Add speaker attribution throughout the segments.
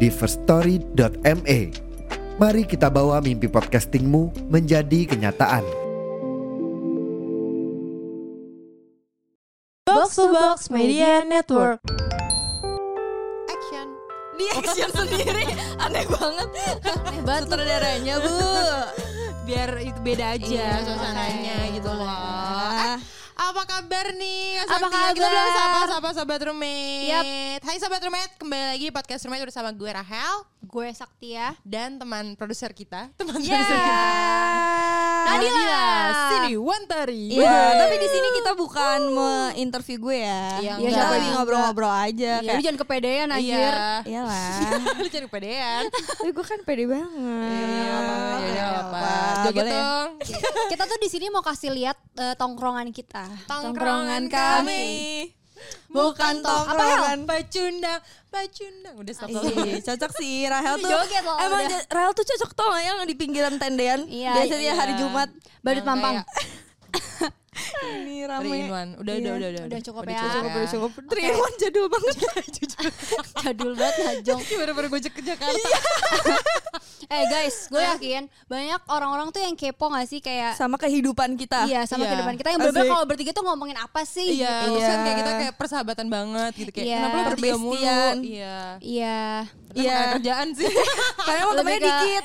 Speaker 1: di firststory.me. Mari kita bawa mimpi podcastingmu menjadi kenyataan.
Speaker 2: Box to Box Media Network.
Speaker 3: action
Speaker 4: di action sendiri aneh banget sutradaranya bu biar itu beda aja
Speaker 3: Iya, suasananya gitu loh.
Speaker 4: loh
Speaker 5: Ah, Eh,
Speaker 3: apa kabar nih
Speaker 4: Apa
Speaker 3: Santia? kita
Speaker 4: kabar?
Speaker 3: belum sapa sapa sobat roommate
Speaker 4: Yap.
Speaker 3: hai sobat roommate kembali lagi di podcast roommate bersama gue Rahel
Speaker 4: gue Saktia
Speaker 3: dan teman produser kita teman
Speaker 5: Iya.
Speaker 4: ya
Speaker 3: produser kita
Speaker 4: Nadila.
Speaker 3: sini Wantari
Speaker 5: Iya, tapi di sini kita bukan menginterview gue ya.
Speaker 3: Iya, enggak.
Speaker 5: Iya, kita lagi ngobrol-ngobrol aja
Speaker 4: ya lu
Speaker 5: kayak.
Speaker 4: jangan kepedean anjir
Speaker 3: iya
Speaker 5: Iyalah.
Speaker 3: lu cari pedean
Speaker 5: Tapi gue kan pede banget.
Speaker 3: ya
Speaker 5: Iya,
Speaker 3: apa
Speaker 5: apa.
Speaker 3: joget
Speaker 5: Boleh ya?
Speaker 3: dong
Speaker 6: kita tuh di sini mau kasih lihat eh, tongkrongan kita.
Speaker 3: tongkrongan
Speaker 5: kami.
Speaker 3: kami
Speaker 5: Bukan
Speaker 3: tongkrongan
Speaker 5: tongkrongan.
Speaker 3: pacundang pacundang kan? udah stop stop
Speaker 5: Iya, cocok sih Rahel tuh.
Speaker 6: Joget loh,
Speaker 5: emang
Speaker 6: udah.
Speaker 5: Ja- Rahel tuh cocok tau gak yang di pinggiran tendean?
Speaker 6: Iya,
Speaker 5: Biasanya
Speaker 6: iya.
Speaker 5: hari Jumat Nah,
Speaker 6: Badut
Speaker 3: Yang
Speaker 6: Mampang.
Speaker 3: kayak three
Speaker 5: ini
Speaker 3: in
Speaker 5: rame.
Speaker 3: one. ya. udah udah
Speaker 5: Iya.
Speaker 3: udah udah
Speaker 6: Udah cukup ya.
Speaker 3: cukup udah cukup
Speaker 5: Three in one jadul banget.
Speaker 6: Jadul banget lah, Jong.
Speaker 3: Ini baru-baru gue ke Jakarta
Speaker 5: Iya.
Speaker 6: Eh guys, gue yakin banyak orang-orang tuh yang kepo gak sih kayak
Speaker 5: Sama kehidupan kita.
Speaker 6: iya sama
Speaker 3: Iya.
Speaker 6: kehidupan kita yang bener
Speaker 5: Asik.
Speaker 6: kalau bertiga tuh ngomongin apa sih?
Speaker 3: Iya,
Speaker 6: gitu.
Speaker 3: terus kan kayak
Speaker 5: Iya.
Speaker 3: kita kayak persahabatan banget gitu kayak
Speaker 6: Iya.
Speaker 3: kenapa lu bertiga mulu?
Speaker 5: Perbestian.
Speaker 3: Iya.
Speaker 6: Iya.
Speaker 3: Iya.
Speaker 5: Iya.
Speaker 3: kerjaan sih.
Speaker 5: Karena emang
Speaker 6: Lebih
Speaker 5: temennya
Speaker 6: ke-
Speaker 5: dikit.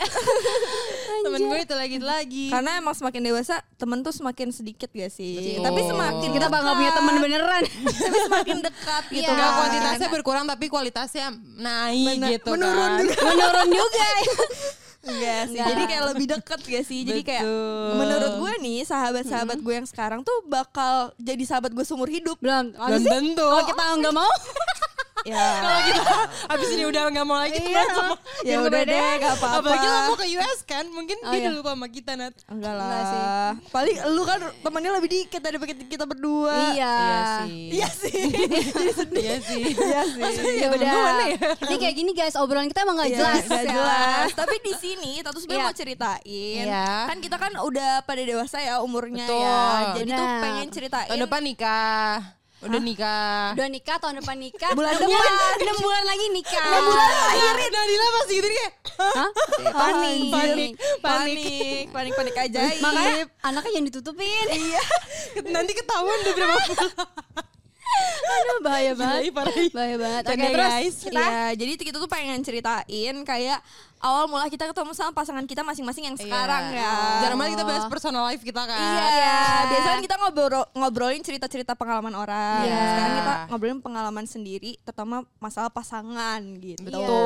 Speaker 3: Temen gue itu lagi lagi.
Speaker 5: Karena emang semakin dewasa temen tuh semakin sedikit gak sih?
Speaker 3: Betul.
Speaker 5: Iya Tapi semakin
Speaker 6: Iya. Kita bakal punya teman beneran.
Speaker 5: tapi semakin dekat gitu.
Speaker 6: Iya.
Speaker 3: Enggak
Speaker 5: kan.
Speaker 3: kuantitasnya berkurang tapi kualitasnya naik
Speaker 5: Bener-
Speaker 3: gitu
Speaker 5: menurun
Speaker 3: kan.
Speaker 5: juga.
Speaker 6: Menurun juga.
Speaker 5: Enggak sih.
Speaker 6: Enggak.
Speaker 5: Jadi kayak lebih dekat gak sih? Jadi kayak
Speaker 3: Iya. Betul.
Speaker 5: menurut gue nih sahabat-sahabat gue yang sekarang tuh bakal jadi sahabat gue seumur hidup.
Speaker 6: Belum.
Speaker 3: Dan tentu
Speaker 6: Kalau kita nggak mau,
Speaker 5: Ya.
Speaker 3: gitu. abis ini udah nggak mau lagi teman sama
Speaker 5: Iya. ya udah deh, gak apa-apa.
Speaker 3: Apalagi lo mau ke US kan, mungkin
Speaker 6: Oh,
Speaker 3: dia
Speaker 6: iya.
Speaker 3: udah lupa sama kita Nat.
Speaker 5: Enggak lah.
Speaker 6: Enggak sih.
Speaker 5: Paling lu kan temennya lebih dikit daripada kita berdua.
Speaker 6: iya.
Speaker 3: Iya sih. Iya sih.
Speaker 5: Iya sih.
Speaker 6: Ya udah. Ini kayak gini guys, obrolan kita emang gak
Speaker 5: Iya,
Speaker 6: jelas.
Speaker 5: nggak jelas. Tapi di sini kita tuh sebenarnya
Speaker 6: Iya.
Speaker 5: mau ceritain.
Speaker 3: Iya.
Speaker 5: Kan kita kan udah pada dewasa ya umurnya
Speaker 3: Betul.
Speaker 5: ya. Jadi tuh
Speaker 6: Benar.
Speaker 5: pengen ceritain. Oh,
Speaker 3: Tahun depan nikah. Udah nikah.
Speaker 6: Udah nikah tahun depan nikah.
Speaker 5: Bulan
Speaker 6: Enam
Speaker 5: depan.
Speaker 6: bulan- Enam bulan lagi nikah.
Speaker 3: Akhirnya Nadila pasti gitu dia kayak
Speaker 6: Hah?
Speaker 5: iya. panik,
Speaker 6: Anjir.
Speaker 5: panik,
Speaker 3: panik.
Speaker 5: panik, Iya. panik, panik ajaib.
Speaker 6: Iya, Makanya anaknya jangan ditutupin. Iya.
Speaker 3: nanti ketahuan udah berapa bulan.
Speaker 6: bahaya banget.
Speaker 3: Gila, parah.
Speaker 6: Bahaya banget. Oke,
Speaker 3: Canda,
Speaker 6: terus
Speaker 3: guys.
Speaker 6: kita
Speaker 5: Iya, jadi kita tuh pengen ceritain kayak awal mula kita ketemu sama pasangan kita masing-masing yang sekarang
Speaker 3: Iya.
Speaker 5: ya.
Speaker 3: Jarang banget kita bahas personal life kita kan.
Speaker 5: Iya, biasanya kan kita ngobrol ngobrolin cerita-cerita pengalaman orang.
Speaker 6: Iya.
Speaker 5: Sekarang kita ngobrolin pengalaman sendiri, terutama masalah pasangan gitu.
Speaker 6: Iya.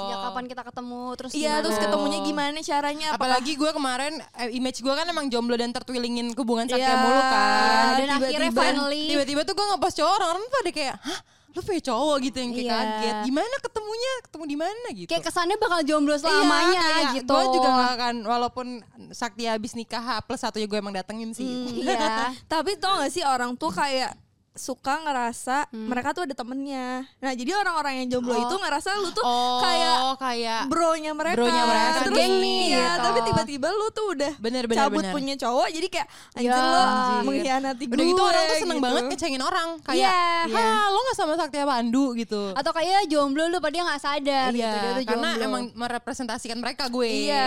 Speaker 6: Sejak Iya, kapan kita ketemu terus
Speaker 5: Iya,
Speaker 6: gimana?
Speaker 5: terus ketemunya gimana caranya? Apakah
Speaker 3: Apalagi gue kemarin eh, image gue kan emang jomblo dan tertwilingin hubungan sakit
Speaker 5: Iya.
Speaker 3: mulu
Speaker 6: Iya,
Speaker 3: kan.
Speaker 6: dan
Speaker 5: tiba-tiba-
Speaker 6: akhirnya finally
Speaker 3: Tiba-tiba tuh gue ngepost cowok orang orang pada kayak, hah lu punya cowok gitu yang kayak
Speaker 6: Iya.
Speaker 3: kaget. Gimana ketemunya? Ketemu di mana gitu?
Speaker 6: kayak kesannya bakal jomblo selamanya gitu.
Speaker 3: Gue Iya, juga gak akan walaupun sakti habis nikah H plus satunya gue emang datengin sih.
Speaker 6: Iya.
Speaker 5: Tapi tau gak sih orang tuh kayak suka ngerasa
Speaker 3: Hmm.
Speaker 5: mereka tuh ada temennya. Nah jadi orang-orang yang jomblo
Speaker 6: Oh.
Speaker 5: itu ngerasa lu tuh
Speaker 3: Oh,
Speaker 5: kayak
Speaker 3: kayak
Speaker 5: bronya mereka.
Speaker 3: Bronya mereka,
Speaker 5: Terus
Speaker 3: geng nih,
Speaker 5: iya,
Speaker 6: gitu.
Speaker 5: tapi tiba-tiba lu tuh udah
Speaker 3: Bener, bener,
Speaker 5: cabut
Speaker 3: bener.
Speaker 5: punya cowok jadi kayak anjir
Speaker 6: Ya,
Speaker 5: lu
Speaker 3: anjir.
Speaker 5: mengkhianati gue.
Speaker 3: Udah gitu orang tuh seneng
Speaker 5: gitu.
Speaker 3: banget ngecengin orang Kayak
Speaker 6: Iya.
Speaker 3: Hah lo gak sama Sakti Pandu gitu
Speaker 6: Atau kayak jomblo lu padahal nggak sadar
Speaker 3: Iya,
Speaker 6: gitu dia tuh
Speaker 3: karena
Speaker 6: jomblo.
Speaker 3: emang merepresentasikan mereka gue.
Speaker 5: Iya.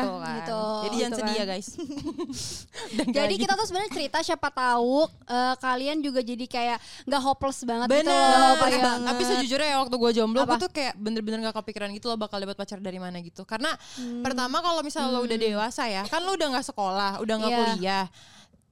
Speaker 3: Gitu kan.
Speaker 6: Gitu.
Speaker 3: Jadi jangan
Speaker 5: Gitu
Speaker 3: sedih ya
Speaker 5: kan.
Speaker 3: guys. Dan
Speaker 6: Jadi kita tuh sebenarnya cerita siapa tahu eh, kalian juga jadi kayak nggak hopeless banget gitu
Speaker 3: bener.
Speaker 6: loh.
Speaker 3: Tapi-
Speaker 6: Kayak-
Speaker 3: Tapi sejujurnya ya waktu gue jomblo,
Speaker 6: Apa?
Speaker 3: gue tuh kayak bener-bener gak kepikiran gitu loh bakal dapat pacar dari mana gitu. Karena
Speaker 6: Hmm.
Speaker 3: pertama kalau misalnya lo udah dewasa ya, kan lo udah nggak sekolah, udah nggak
Speaker 6: Iya.
Speaker 3: kuliah.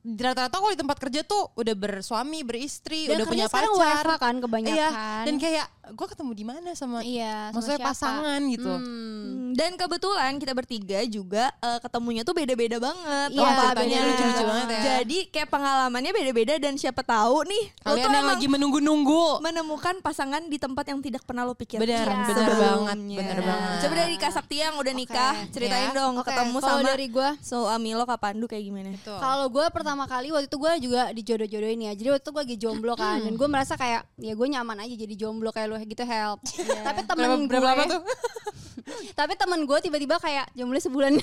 Speaker 3: Rata-rata kalau di tempat kerja tuh udah bersuami, beristri,
Speaker 6: Dan
Speaker 3: udah punya
Speaker 6: kerja sekarang
Speaker 3: pacar.
Speaker 6: WFH kan kebanyakan.
Speaker 3: Iya, dan kayak gue ketemu di mana sama
Speaker 6: Iya, sama
Speaker 3: maksudnya
Speaker 6: siapa?
Speaker 3: pasangan gitu.
Speaker 6: Hmm.
Speaker 5: Hmm, Dan kebetulan kita bertiga juga eh, ketemunya tuh beda-beda banget.
Speaker 6: Iya,
Speaker 5: tempatnya.
Speaker 3: ceritanya lucu-lucu banget ya.
Speaker 5: Jadi kayak pengalamannya beda-beda dan siapa tahu nih lo
Speaker 3: Kalian
Speaker 5: tuh
Speaker 3: yang
Speaker 5: emang
Speaker 3: lagi menunggu-nunggu.
Speaker 5: menemukan pasangan di tempat yang tidak pernah lo pikirkan.
Speaker 3: Benar,
Speaker 6: Iya.
Speaker 3: benar banget,
Speaker 5: sebelumnya.
Speaker 3: benar banget.
Speaker 5: Coba dari Kak Sakti yang udah nikah, ceritain
Speaker 3: Ya.
Speaker 5: dong
Speaker 6: iya. Oke,
Speaker 5: ketemu
Speaker 6: kalau
Speaker 5: sama
Speaker 6: dari gue
Speaker 5: suami lo Kak Pandu kayak gimana?
Speaker 3: Betul.
Speaker 6: Kalau gue pertama kali waktu itu gue juga dijodoh-jodohin ya. Jadi waktu itu gue lagi jomblo kan
Speaker 3: Hmm.
Speaker 6: dan gue merasa kayak ya gue nyaman aja jadi jomblo kayak lo gitu help. Tapi
Speaker 3: berapa,
Speaker 6: temen
Speaker 3: Iya. berapa lama
Speaker 6: gue-
Speaker 3: tuh?
Speaker 6: Tapi temen gue tiba-tiba kayak jomblo sebulan.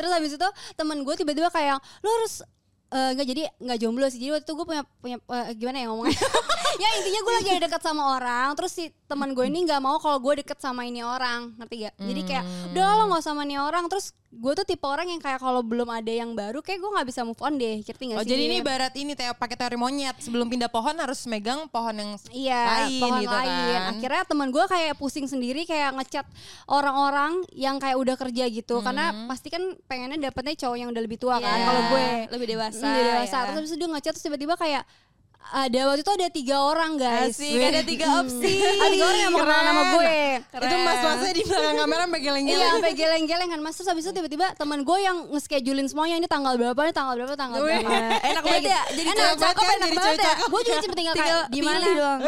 Speaker 6: Terus habis itu temen gue tiba-tiba kayak lo harus eh, nggak jadi nggak jomblo sih jadi waktu itu gue punya punya eh, gimana ya ngomongnya ya intinya gue lagi ada dekat sama orang terus si teman gue ini nggak mau kalau gue deket sama ini orang ngerti gak jadi kayak
Speaker 3: Hmm.
Speaker 6: udah lo nggak sama ini orang terus gue tuh tipe orang yang kayak kalau belum ada yang baru kayak gue nggak bisa move on deh ngerti gak
Speaker 3: Oh,
Speaker 6: Iya sih
Speaker 3: jadi ini ibarat ini teo pakai teori monyet sebelum pindah pohon harus megang pohon yang
Speaker 6: Iya,
Speaker 3: lain
Speaker 6: pohon
Speaker 3: gitu
Speaker 6: lain.
Speaker 3: kan.
Speaker 6: Akhirnya teman gue kayak pusing sendiri kayak ngechat orang-orang yang kayak udah kerja gitu, karena pasti kan pengennya dapetnya cowok yang udah lebih tua kan.
Speaker 3: Ya.
Speaker 5: Iya.
Speaker 6: Kalau gue
Speaker 5: Lebih dewasa,
Speaker 6: lebih dewasa.
Speaker 5: ya.
Speaker 6: Terus habis itu dia ngechat terus tiba-tiba kayak ada waktu itu ada tiga orang guys.
Speaker 5: Asik, ada tiga opsi.
Speaker 6: ada tiga orang yang mau kenalan sama gue.
Speaker 3: Itu mas-masnya di belakang kamera
Speaker 6: Iya,
Speaker 3: megeleng-geleng.
Speaker 6: sampai geleng-geleng kan. Mas terus habis itu tiba-tiba teman gue yang nge-schedulein semuanya ini tanggal berapa, ini tanggal berapa, tanggal berapa.
Speaker 3: Iya.
Speaker 5: Enak banget ya, jadi
Speaker 6: Enak,
Speaker 5: cewek
Speaker 6: cakep,
Speaker 5: cakep
Speaker 6: enak
Speaker 5: jadi
Speaker 6: banget
Speaker 5: cewek
Speaker 6: ya.
Speaker 5: cakep.
Speaker 6: Gue juga cuma tinggal kayak
Speaker 5: Tinggal
Speaker 6: di mana
Speaker 5: pilih doang.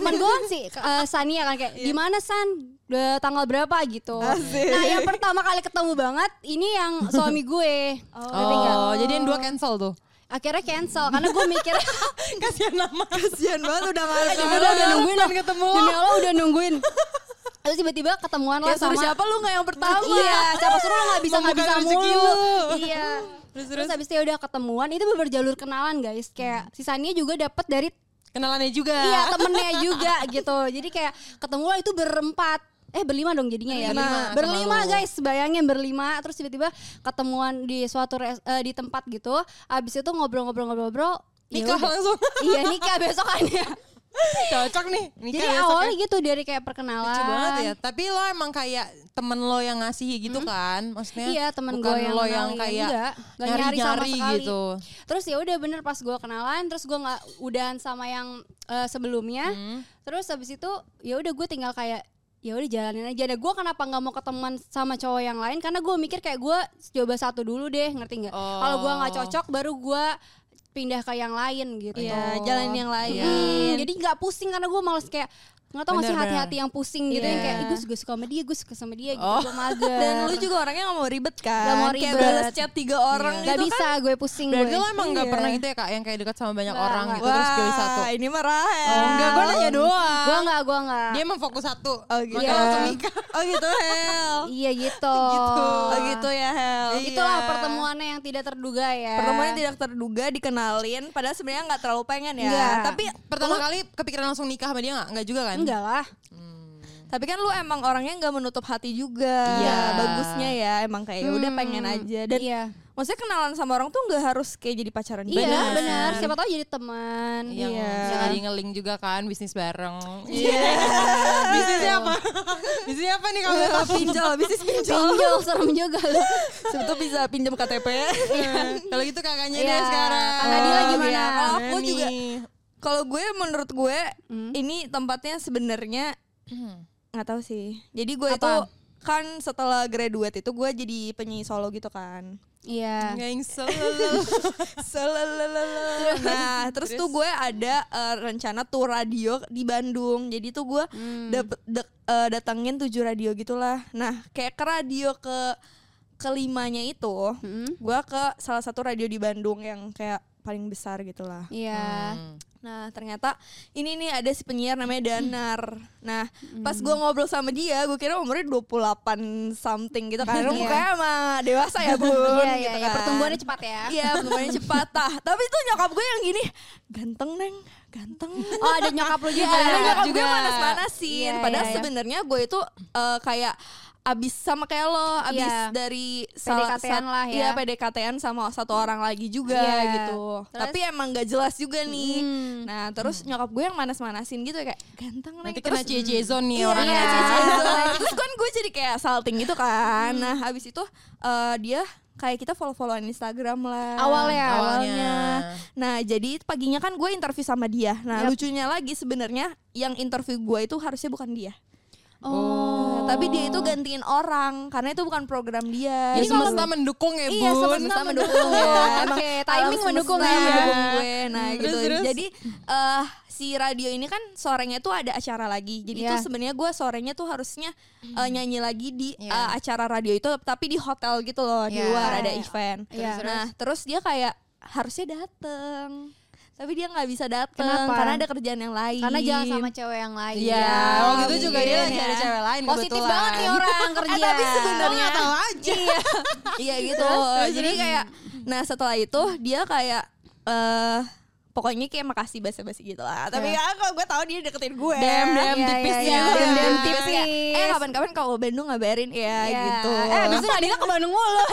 Speaker 6: temen gue kan sih eh, Sania kan kayak di mana San Udah tanggal berapa gitu nah yang pertama kali ketemu banget ini yang suami gue Ngerti nggak?
Speaker 3: Oh, jadi yang dua cancel tuh.
Speaker 6: akhirnya cancel karena gue mikir
Speaker 3: Kasihan nama.
Speaker 5: Kasian banget udah ngarep
Speaker 6: demi
Speaker 5: sama lo.
Speaker 6: Allah udah nungguin loh
Speaker 3: ketemu lo.
Speaker 6: demi Allah udah nungguin terus tiba-tiba ketemuan lah
Speaker 5: Kayak
Speaker 6: sama
Speaker 5: suruh siapa lu gak yang pertama?
Speaker 6: iya siapa suruh lo nggak bisa nggak
Speaker 3: Membuka
Speaker 6: bisa
Speaker 3: rezeki
Speaker 6: mulu
Speaker 3: lu.
Speaker 6: iya terus, habis itu ya udah ketemuan itu berjalur kenalan guys kayak si Sania juga dapat dari
Speaker 3: Kenalannya juga.
Speaker 6: Iya temennya juga gitu Jadi kayak ketemu lah itu berempat Eh berlima dong jadinya ya
Speaker 3: Berlima, sama
Speaker 6: Berlima
Speaker 3: lu.
Speaker 6: guys bayangin berlima Terus tiba-tiba ketemuan di suatu res- eh, di tempat gitu Abis itu ngobrol-ngobrol-ngobrol-ngobrol ya
Speaker 3: Nikah
Speaker 6: udah.
Speaker 3: langsung.
Speaker 6: Iya nikah besokannya
Speaker 3: Cocok nih.
Speaker 6: Jadi
Speaker 3: nikah besok
Speaker 6: awalnya
Speaker 3: ya.
Speaker 6: gitu dari kayak perkenalan
Speaker 3: lucu banget ya. Tapi lo emang kayak temen lo yang ngasihi gitu kan? Maksudnya
Speaker 6: Iya temen
Speaker 3: bukan
Speaker 6: gue yang
Speaker 3: lo yang
Speaker 6: kenalin.
Speaker 3: kayak
Speaker 6: Enggak, nggak
Speaker 3: nyari-nyari
Speaker 6: nyari sama sekali.
Speaker 3: gitu.
Speaker 6: Terus ya udah bener pas gue kenalan, terus gue nggak udahan sama yang eh, sebelumnya.
Speaker 3: Hmm.
Speaker 6: Terus habis itu ya udah gue tinggal kayak ya udah jalanin aja. Nah gue kenapa nggak mau ketemuan sama cowok yang lain? Karena gue mikir kayak gue coba satu dulu deh, ngerti nggak?
Speaker 3: Oh.
Speaker 6: Kalau gue nggak cocok, baru gue pindah ke yang lain gitu.
Speaker 5: Iya, jalan yang lain.
Speaker 3: Iya.
Speaker 6: Hmm, jadi nggak pusing karena gue males kayak nggak tau masih
Speaker 3: Bener,
Speaker 6: hati-hati yang pusing gitu yang
Speaker 3: Iya.
Speaker 6: kayak "Ih, gue juga suka sama dia, gue suka sama dia gitu,
Speaker 3: Oh.
Speaker 6: gue mager.
Speaker 5: Dan lu juga orangnya gak mau ribet kan?
Speaker 6: Nggak mau
Speaker 5: Kayak
Speaker 6: ribet.
Speaker 5: balas chat tiga orang
Speaker 6: Gak
Speaker 5: gitu
Speaker 6: bisa
Speaker 3: kan?
Speaker 6: gue pusing
Speaker 3: Berarti
Speaker 6: gue.
Speaker 3: lo emang nggak
Speaker 5: Iya.
Speaker 3: pernah gitu ya kak yang kayak dekat sama banyak
Speaker 6: Nggak,
Speaker 3: orang
Speaker 6: nggak. iya.
Speaker 3: gitu terus pilih satu.
Speaker 5: ini mah Rahel.
Speaker 3: Oh, enggak, gue nanya doang.
Speaker 6: Gue enggak, gue enggak.
Speaker 3: Dia emang fokus satu.
Speaker 5: Oh gitu.
Speaker 3: Makanya langsung nikah.
Speaker 5: Oh gitu Hel.
Speaker 6: Iya gitu.
Speaker 5: gitu. Oh gitu ya Hel.
Speaker 6: Itulah pertemuannya yang tidak terduga ya.
Speaker 5: Pertemuannya tidak terduga dikenalin padahal sebenarnya nggak terlalu pengen ya.
Speaker 6: Nggak.
Speaker 5: Tapi
Speaker 3: Pertama kali kepikiran langsung nikah sama dia nggak? Nggak juga kan?
Speaker 6: Enggak lah.
Speaker 5: tapi kan lu emang orangnya nggak menutup hati juga.
Speaker 3: Iya.
Speaker 5: Bagusnya ya emang kayak ya udah
Speaker 6: Hmm,
Speaker 5: pengen aja dan
Speaker 6: iya.
Speaker 5: maksudnya kenalan sama orang tuh nggak harus kayak jadi pacaran
Speaker 6: Iya,
Speaker 5: banget.
Speaker 6: benar. Siapa tahu jadi teman.
Speaker 3: Yang
Speaker 5: Iya.
Speaker 3: bisa jadi ngeling juga kan bisnis bareng. Iya. Bisnisnya apa? Bisnisnya apa nih kalau
Speaker 5: Iya.
Speaker 3: boleh tahu?
Speaker 5: pinjol, bisnis pinjol.
Speaker 6: Pinjol serem juga lu.
Speaker 5: Sebetulnya bisa pinjam KTP.
Speaker 3: Kalau gitu kakaknya
Speaker 6: Iya.
Speaker 3: deh sekarang.
Speaker 6: Kak Nadila
Speaker 5: Iya. Oh,
Speaker 6: gimana?
Speaker 5: iya. Kalau aku
Speaker 3: Nani.
Speaker 5: juga kalau gue menurut gue ini tempatnya sebenarnya nggak tahu sih. Jadi gue itu kan setelah graduate itu gue jadi penyanyi solo gitu kan.
Speaker 6: Iya.
Speaker 3: Nggak yang sel.
Speaker 5: Selalalala. Nah, terus tuh gue ada eh, rencana tour radio di Bandung. Jadi tuh gue dapet dek- eh, datengin tujuh radio gitulah. Nah, kayak ke radio ke kelimanya itu,
Speaker 6: Hmm.
Speaker 5: gue ke salah satu radio di Bandung yang kayak paling besar gitulah.
Speaker 6: Iya.
Speaker 5: Nah ternyata ini nih ada si penyiar namanya Danar Nah pas gua
Speaker 6: Mm.
Speaker 5: ngobrol sama dia Gue kira umurnya 28 something gitu kan Karena mukanya sama dewasa ya bun
Speaker 6: Iya, iya,
Speaker 5: gitu
Speaker 6: iya.
Speaker 5: kan.
Speaker 6: Pertumbuhannya cepat ya.
Speaker 5: Iya pertumbuhannya cepat tah. Tapi tuh nyokap gue yang gini Ganteng neng ganteng
Speaker 6: Oh, ada nyokap lu juga.
Speaker 5: Ada Iya, nyokap
Speaker 3: juga.
Speaker 5: gue manas-manasin
Speaker 6: Iya,
Speaker 5: Padahal
Speaker 6: iya, iya.
Speaker 5: sebenarnya gue itu eh, kayak abis sama kayak lo abis
Speaker 6: Iya.
Speaker 5: dari salah
Speaker 6: PDKT-an lah ya. Hmm.
Speaker 5: iya, PDKT-an sama satu orang lagi juga
Speaker 6: Iya.
Speaker 5: gitu
Speaker 6: Terus? Hmm.
Speaker 5: tapi emang gak jelas juga nih nah terus nyokap gue yang manas-manasin gitu kayak ganteng nih
Speaker 3: Nanti kena
Speaker 5: terus
Speaker 3: cie zone nih
Speaker 5: Iya,
Speaker 3: orangnya. Hmm.
Speaker 5: kena cie-cie. terus kan gue jadi kayak salting gitu kan nah habis itu eh, dia kayak kita follow-followan Instagram lah.
Speaker 6: Awalnya.
Speaker 5: Awalnya. Nah, jadi paginya kan gue interview sama dia. Nah, lucunya lagi sebenarnya yang interview gue itu harusnya bukan dia. Nah,
Speaker 6: Oh.
Speaker 5: Tapi dia itu gantiin orang karena itu bukan program dia.
Speaker 3: Jadi
Speaker 5: Jadi
Speaker 3: kalau semesta mendukung ya, Bun.
Speaker 5: Iya semesta mendukung ya. Emang
Speaker 6: Oke,
Speaker 5: alam
Speaker 6: timing
Speaker 5: semesta
Speaker 6: mendukung ya.
Speaker 5: mendukung gue. Nah
Speaker 3: Hmm.
Speaker 5: gitu.
Speaker 3: Terus, terus.
Speaker 5: Jadi eh, si radio ini kan sorenya tuh ada acara lagi. Jadi
Speaker 6: Iya.
Speaker 5: tuh sebenarnya gue sorenya tuh harusnya eh, nyanyi lagi di
Speaker 3: Iya.
Speaker 5: eh, acara radio itu, tapi di hotel gitu loh di
Speaker 3: Iya.
Speaker 5: luar ada event.
Speaker 6: Iya.
Speaker 5: Nah terus dia kayak harusnya dateng, tapi dia nggak bisa dateng
Speaker 6: Kenapa?
Speaker 5: karena ada kerjaan yang lain.
Speaker 6: Karena jangan sama cewek yang lain.
Speaker 5: Iya,
Speaker 3: Waktu itu juga dia
Speaker 5: mungkin
Speaker 3: lagi
Speaker 5: ya.
Speaker 3: ada cewek lain
Speaker 6: Iya. Positif
Speaker 3: kebetulan.
Speaker 6: banget nih orang kerja.
Speaker 5: Eh, tapi sebenarnya
Speaker 3: Tahu aja.
Speaker 5: Iya gitu. Jadi kayak nah setelah itu dia kayak eh pokoknya kayak makasih basa-basi gitu lah. Tapi ya kok gue tahu dia deketin gue.
Speaker 3: Dem, dem,
Speaker 5: Iya,
Speaker 3: tipis
Speaker 5: iya,
Speaker 3: gitu.
Speaker 5: dem, dem,
Speaker 6: Iya.
Speaker 5: tipis kayak, Eh
Speaker 6: Tipis.
Speaker 5: kapan-kapan kalau Bandung ngabarin ya
Speaker 6: Iya.
Speaker 5: gitu.
Speaker 6: Eh, abis itu Nadila ke Bandung mulu.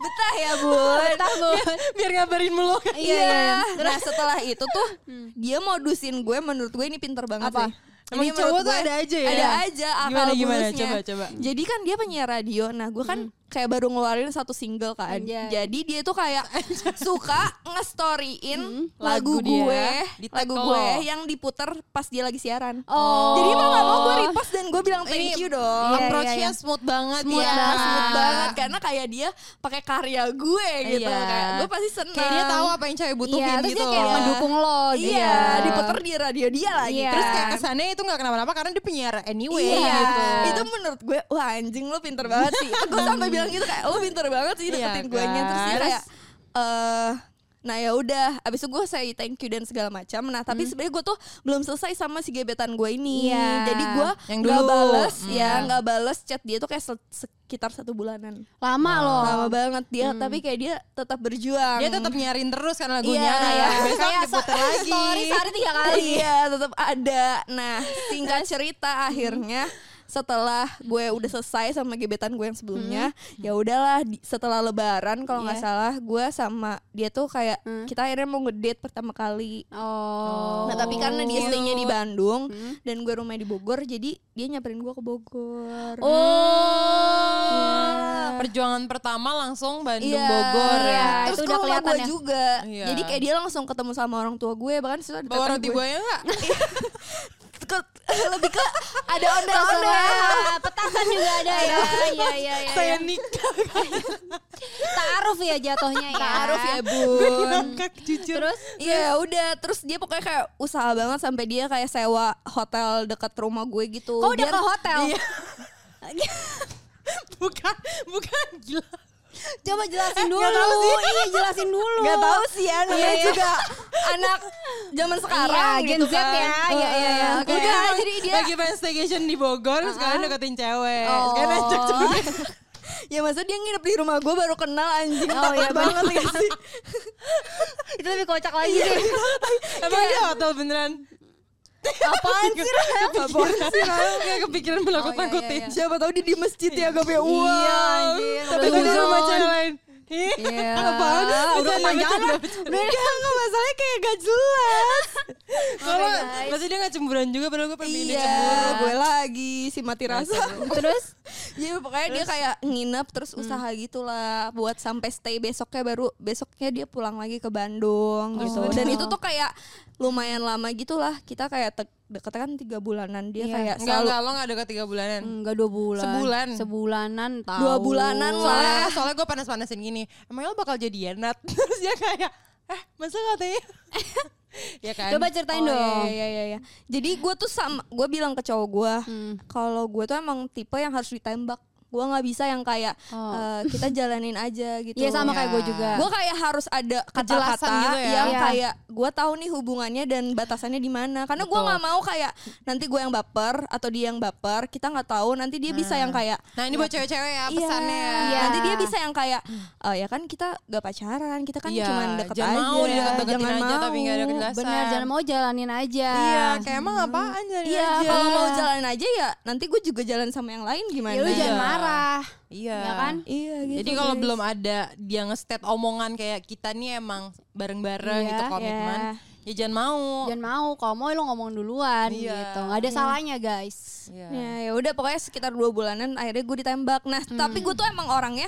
Speaker 5: betah ya bun.
Speaker 6: Betah, Bun.
Speaker 3: Biar ngabarin mulu.
Speaker 5: Iya. Nah setelah itu tuh dia modusin gue menurut gue ini pinter banget
Speaker 3: Apa?
Speaker 5: sih.
Speaker 3: Emang
Speaker 5: Ini
Speaker 3: cowok
Speaker 5: menurut
Speaker 3: tuh
Speaker 5: gue
Speaker 3: ada aja ya?
Speaker 5: Ada aja akal
Speaker 3: Gimana, gimana?
Speaker 5: bulusnya.
Speaker 3: Coba, coba.
Speaker 5: Jadi kan dia penyiar radio. Nah gue kan kayak baru ngeluarin satu single kan.
Speaker 6: Anjay.
Speaker 5: Jadi dia tuh kayak suka ngestoryin
Speaker 3: Lagu
Speaker 5: lagu,
Speaker 3: dia
Speaker 5: gue,
Speaker 3: di tag
Speaker 5: lagu
Speaker 3: ke
Speaker 5: gue
Speaker 3: lo.
Speaker 5: yang diputer pas dia lagi siaran.
Speaker 6: Oh.
Speaker 5: Jadi mau gak mau gue repost dan gue bilang thank you dong.
Speaker 3: Approach-nya smooth banget
Speaker 5: iya, Smooth,
Speaker 3: ya.
Speaker 5: banget, smooth banget karena kayak dia pakai karya gue gitu
Speaker 3: Iya.
Speaker 5: kayak gue pasti seneng
Speaker 3: Kayak dia tahu apa yang cewek butuhin
Speaker 6: Iya, terus
Speaker 3: gitu
Speaker 6: dia kayak
Speaker 3: loh.
Speaker 6: mendukung lo. dia.
Speaker 5: Iya, diputer di radio dia lagi.
Speaker 6: Iya.
Speaker 3: Terus kayak kesannya itu gak kenapa-napa karena dia penyiar anyway
Speaker 5: Iya.
Speaker 3: gitu.
Speaker 5: Itu menurut gue, wah anjing lo pinter banget sih. gue sampai bilang gitu kayak lo pinter banget sih
Speaker 3: Iya
Speaker 5: deketin gue nya terus dia
Speaker 3: kan?
Speaker 5: kayak eh nah ya udah abis itu gue say thank you dan segala macam nah tapi
Speaker 3: Hmm.
Speaker 5: sebenarnya gue tuh belum selesai sama si gebetan gue ini
Speaker 6: Iya.
Speaker 5: jadi gue
Speaker 3: Yang
Speaker 5: nggak
Speaker 3: dulu.
Speaker 5: bales
Speaker 3: Hmm.
Speaker 5: ya nggak bales chat dia tuh kayak se- sekitar satu bulanan
Speaker 6: Lama loh.
Speaker 5: lama banget dia tapi kayak dia tetap
Speaker 3: Oh.
Speaker 5: berjuang
Speaker 3: Hmm. Dia tetap nyarin terus karena lagunya
Speaker 5: Iya.
Speaker 3: nah ya. Besok
Speaker 6: Kayak
Speaker 3: diputer
Speaker 5: Eh,
Speaker 6: se-
Speaker 3: lagi.
Speaker 6: story sehari tiga kali.
Speaker 5: Iya tetap ada. Nah singkat cerita akhirnya setelah gue udah selesai sama gebetan gue yang sebelumnya, ya udahlah di- setelah Lebaran kalau nggak
Speaker 6: Iya.
Speaker 5: salah gue sama dia tuh kayak kita akhirnya mau ngedate pertama kali. Hmm.
Speaker 6: Oh.
Speaker 5: Nah tapi karena dia stay-nya di Bandung Hmm. dan gue rumahnya di Bogor, jadi dia nyamperin gue ke Bogor.
Speaker 3: Oh. Perjuangan pertama langsung Bandung
Speaker 5: Iya.
Speaker 3: Bogor ya.
Speaker 6: Iya.
Speaker 5: Terus
Speaker 6: itu
Speaker 5: ke
Speaker 6: udah
Speaker 5: rumah gue
Speaker 6: kelihatan ya.
Speaker 5: juga.
Speaker 3: Iya.
Speaker 5: Jadi kayak dia langsung ketemu sama orang tua gue, bahkan sudah
Speaker 3: Bawa roti buaya enggak?
Speaker 5: lebih ke ada
Speaker 6: Langsung
Speaker 5: onda-onda.
Speaker 6: lah, Petasan juga ada ya. Iya, iya, iya.
Speaker 3: Saya nikah.
Speaker 6: Taruh ya jatuhnya ya.
Speaker 5: Taaruf ya
Speaker 3: Gue
Speaker 5: bun
Speaker 3: ngangkat jujur. Terus
Speaker 5: Iya udah Terus dia pokoknya kayak usaha banget Sampai dia kayak sewa hotel dekat rumah gue gitu
Speaker 6: Kok udah
Speaker 5: Biar-
Speaker 6: ke hotel?
Speaker 5: Iya.
Speaker 3: bukan bukan gila.
Speaker 6: Coba
Speaker 3: Eh,
Speaker 6: jelasin dulu.
Speaker 3: nggak tahu sih.
Speaker 6: Iya, jelasin dulu.
Speaker 5: Gak tau sih ya Namanya
Speaker 6: Iya.
Speaker 5: juga anak zaman sekarang
Speaker 6: Iya, Gen
Speaker 5: gitu
Speaker 6: Z
Speaker 5: kan.
Speaker 6: ya. Iya, iya, iya.
Speaker 5: Oke.
Speaker 3: Udah,
Speaker 5: Enggak,
Speaker 3: jadi dia lagi pengen staycation di Bogor, sekarang deketin cewek.
Speaker 5: Oh.
Speaker 3: Sekarang ajak cewek.
Speaker 5: Ya maksudnya dia nginep di rumah gue baru kenal anjing
Speaker 6: Oh, iya,
Speaker 5: Takut banget gak sih
Speaker 6: Itu lebih kocak lagi sih.
Speaker 3: Emang dia hotel beneran?
Speaker 5: Apaan sih Oh, iya, Rep? Apaan sih Rep?
Speaker 3: Gak kepikiran
Speaker 6: Iya.
Speaker 3: menakut-nakutin.
Speaker 5: Siapa tahu dia di masjid ya Gak punya uang
Speaker 3: Iya,
Speaker 5: anjing,
Speaker 3: Tapi
Speaker 5: udah
Speaker 3: itu di rumah
Speaker 5: uzon.
Speaker 3: cewek lain. Ih,
Speaker 5: Iya.
Speaker 3: Apaan?
Speaker 5: Udah
Speaker 3: Bercanda,
Speaker 5: panjang
Speaker 3: bercanda,
Speaker 5: lah.
Speaker 3: bercanda.
Speaker 5: Enggak, enggak masalahnya kayak gak jelas.
Speaker 3: Kalau masih dia gak cemburuan juga padahal gue pernah bini
Speaker 5: iya,
Speaker 3: cemburu.
Speaker 5: gue lagi si mati rasa.
Speaker 6: Terus
Speaker 5: Jadi pokoknya dia kayak nginep terus usaha gitulah buat sampai stay besoknya baru besoknya dia pulang lagi ke Bandung gitu. Dan itu tuh kayak lumayan lama gitulah. Kita kayak te- deket kan tiga bulanan dia
Speaker 6: Iya.
Speaker 5: kayak
Speaker 3: Enggak,
Speaker 5: selalu
Speaker 3: enggak, lo gak dekat 3 bulanan.
Speaker 6: enggak dua bulan.
Speaker 3: Sebulan.
Speaker 6: Sebulanan tahu.
Speaker 5: dua bulanan
Speaker 3: Soalnya,
Speaker 5: lah.
Speaker 3: soalnya gue panas-panasin gini, emang lo bakal jadian, Nat? Terus dia kayak, eh masa katanya? ya kan?
Speaker 6: Coba ceritain
Speaker 5: Oh,
Speaker 6: dong.
Speaker 5: Iya, iya, iya, iya. Jadi gue tuh sama gue bilang ke cowok gue
Speaker 6: Hmm.
Speaker 5: kalau gue tuh emang tipe yang harus ditembak. Gue nggak bisa yang kayak eh, kita jalanin aja gitu.
Speaker 6: Iya sama kayak gue juga.
Speaker 5: Gue kayak harus ada kata-kata
Speaker 3: Kejelasan gitu ya.
Speaker 5: yang
Speaker 6: Iya.
Speaker 5: kayak gue tahu nih hubungannya dan batasannya di mana. Karena gue
Speaker 3: Betul.
Speaker 5: nggak mau kayak nanti gue yang baper atau dia yang baper. Kita nggak tahu. Nanti dia bisa yang kayak
Speaker 3: Nah ini buat cewek-cewek ya pesannya.
Speaker 5: Iya.
Speaker 6: Iya.
Speaker 5: Nanti dia bisa yang kayak oh ya kan kita gak pacaran, kita kan
Speaker 3: Iya,
Speaker 5: cuma deket
Speaker 3: jangan
Speaker 5: aja.
Speaker 3: mau deket-deketin
Speaker 5: jangan
Speaker 3: aja
Speaker 5: mau.
Speaker 3: tapi nggak ada kejelasan.
Speaker 6: Benar, jangan mau jalanin aja.
Speaker 3: Iya, kayak emang apaan jadi
Speaker 5: Iya,
Speaker 3: aja.
Speaker 5: kalau mau jalan aja ya nanti gue juga jalan sama yang lain gimana?
Speaker 6: Ya lu jangan marah.
Speaker 3: Iya.
Speaker 6: Ya kan?
Speaker 5: Iya gitu.
Speaker 3: Jadi kalau
Speaker 5: guys.
Speaker 3: belum ada dia nge-state omongan kayak kita nih emang bareng-bareng
Speaker 6: Iya,
Speaker 3: gitu komitmen,
Speaker 5: iya.
Speaker 3: ya jangan mau.
Speaker 6: Jangan mau, kalau mau lu ngomong duluan
Speaker 3: Iya.
Speaker 6: gitu. Nggak ada salahnya, guys.
Speaker 3: Iya.
Speaker 5: Ya, ya udah pokoknya sekitar dua bulanan akhirnya gue ditembak. Nah, tapi gue tuh emang orangnya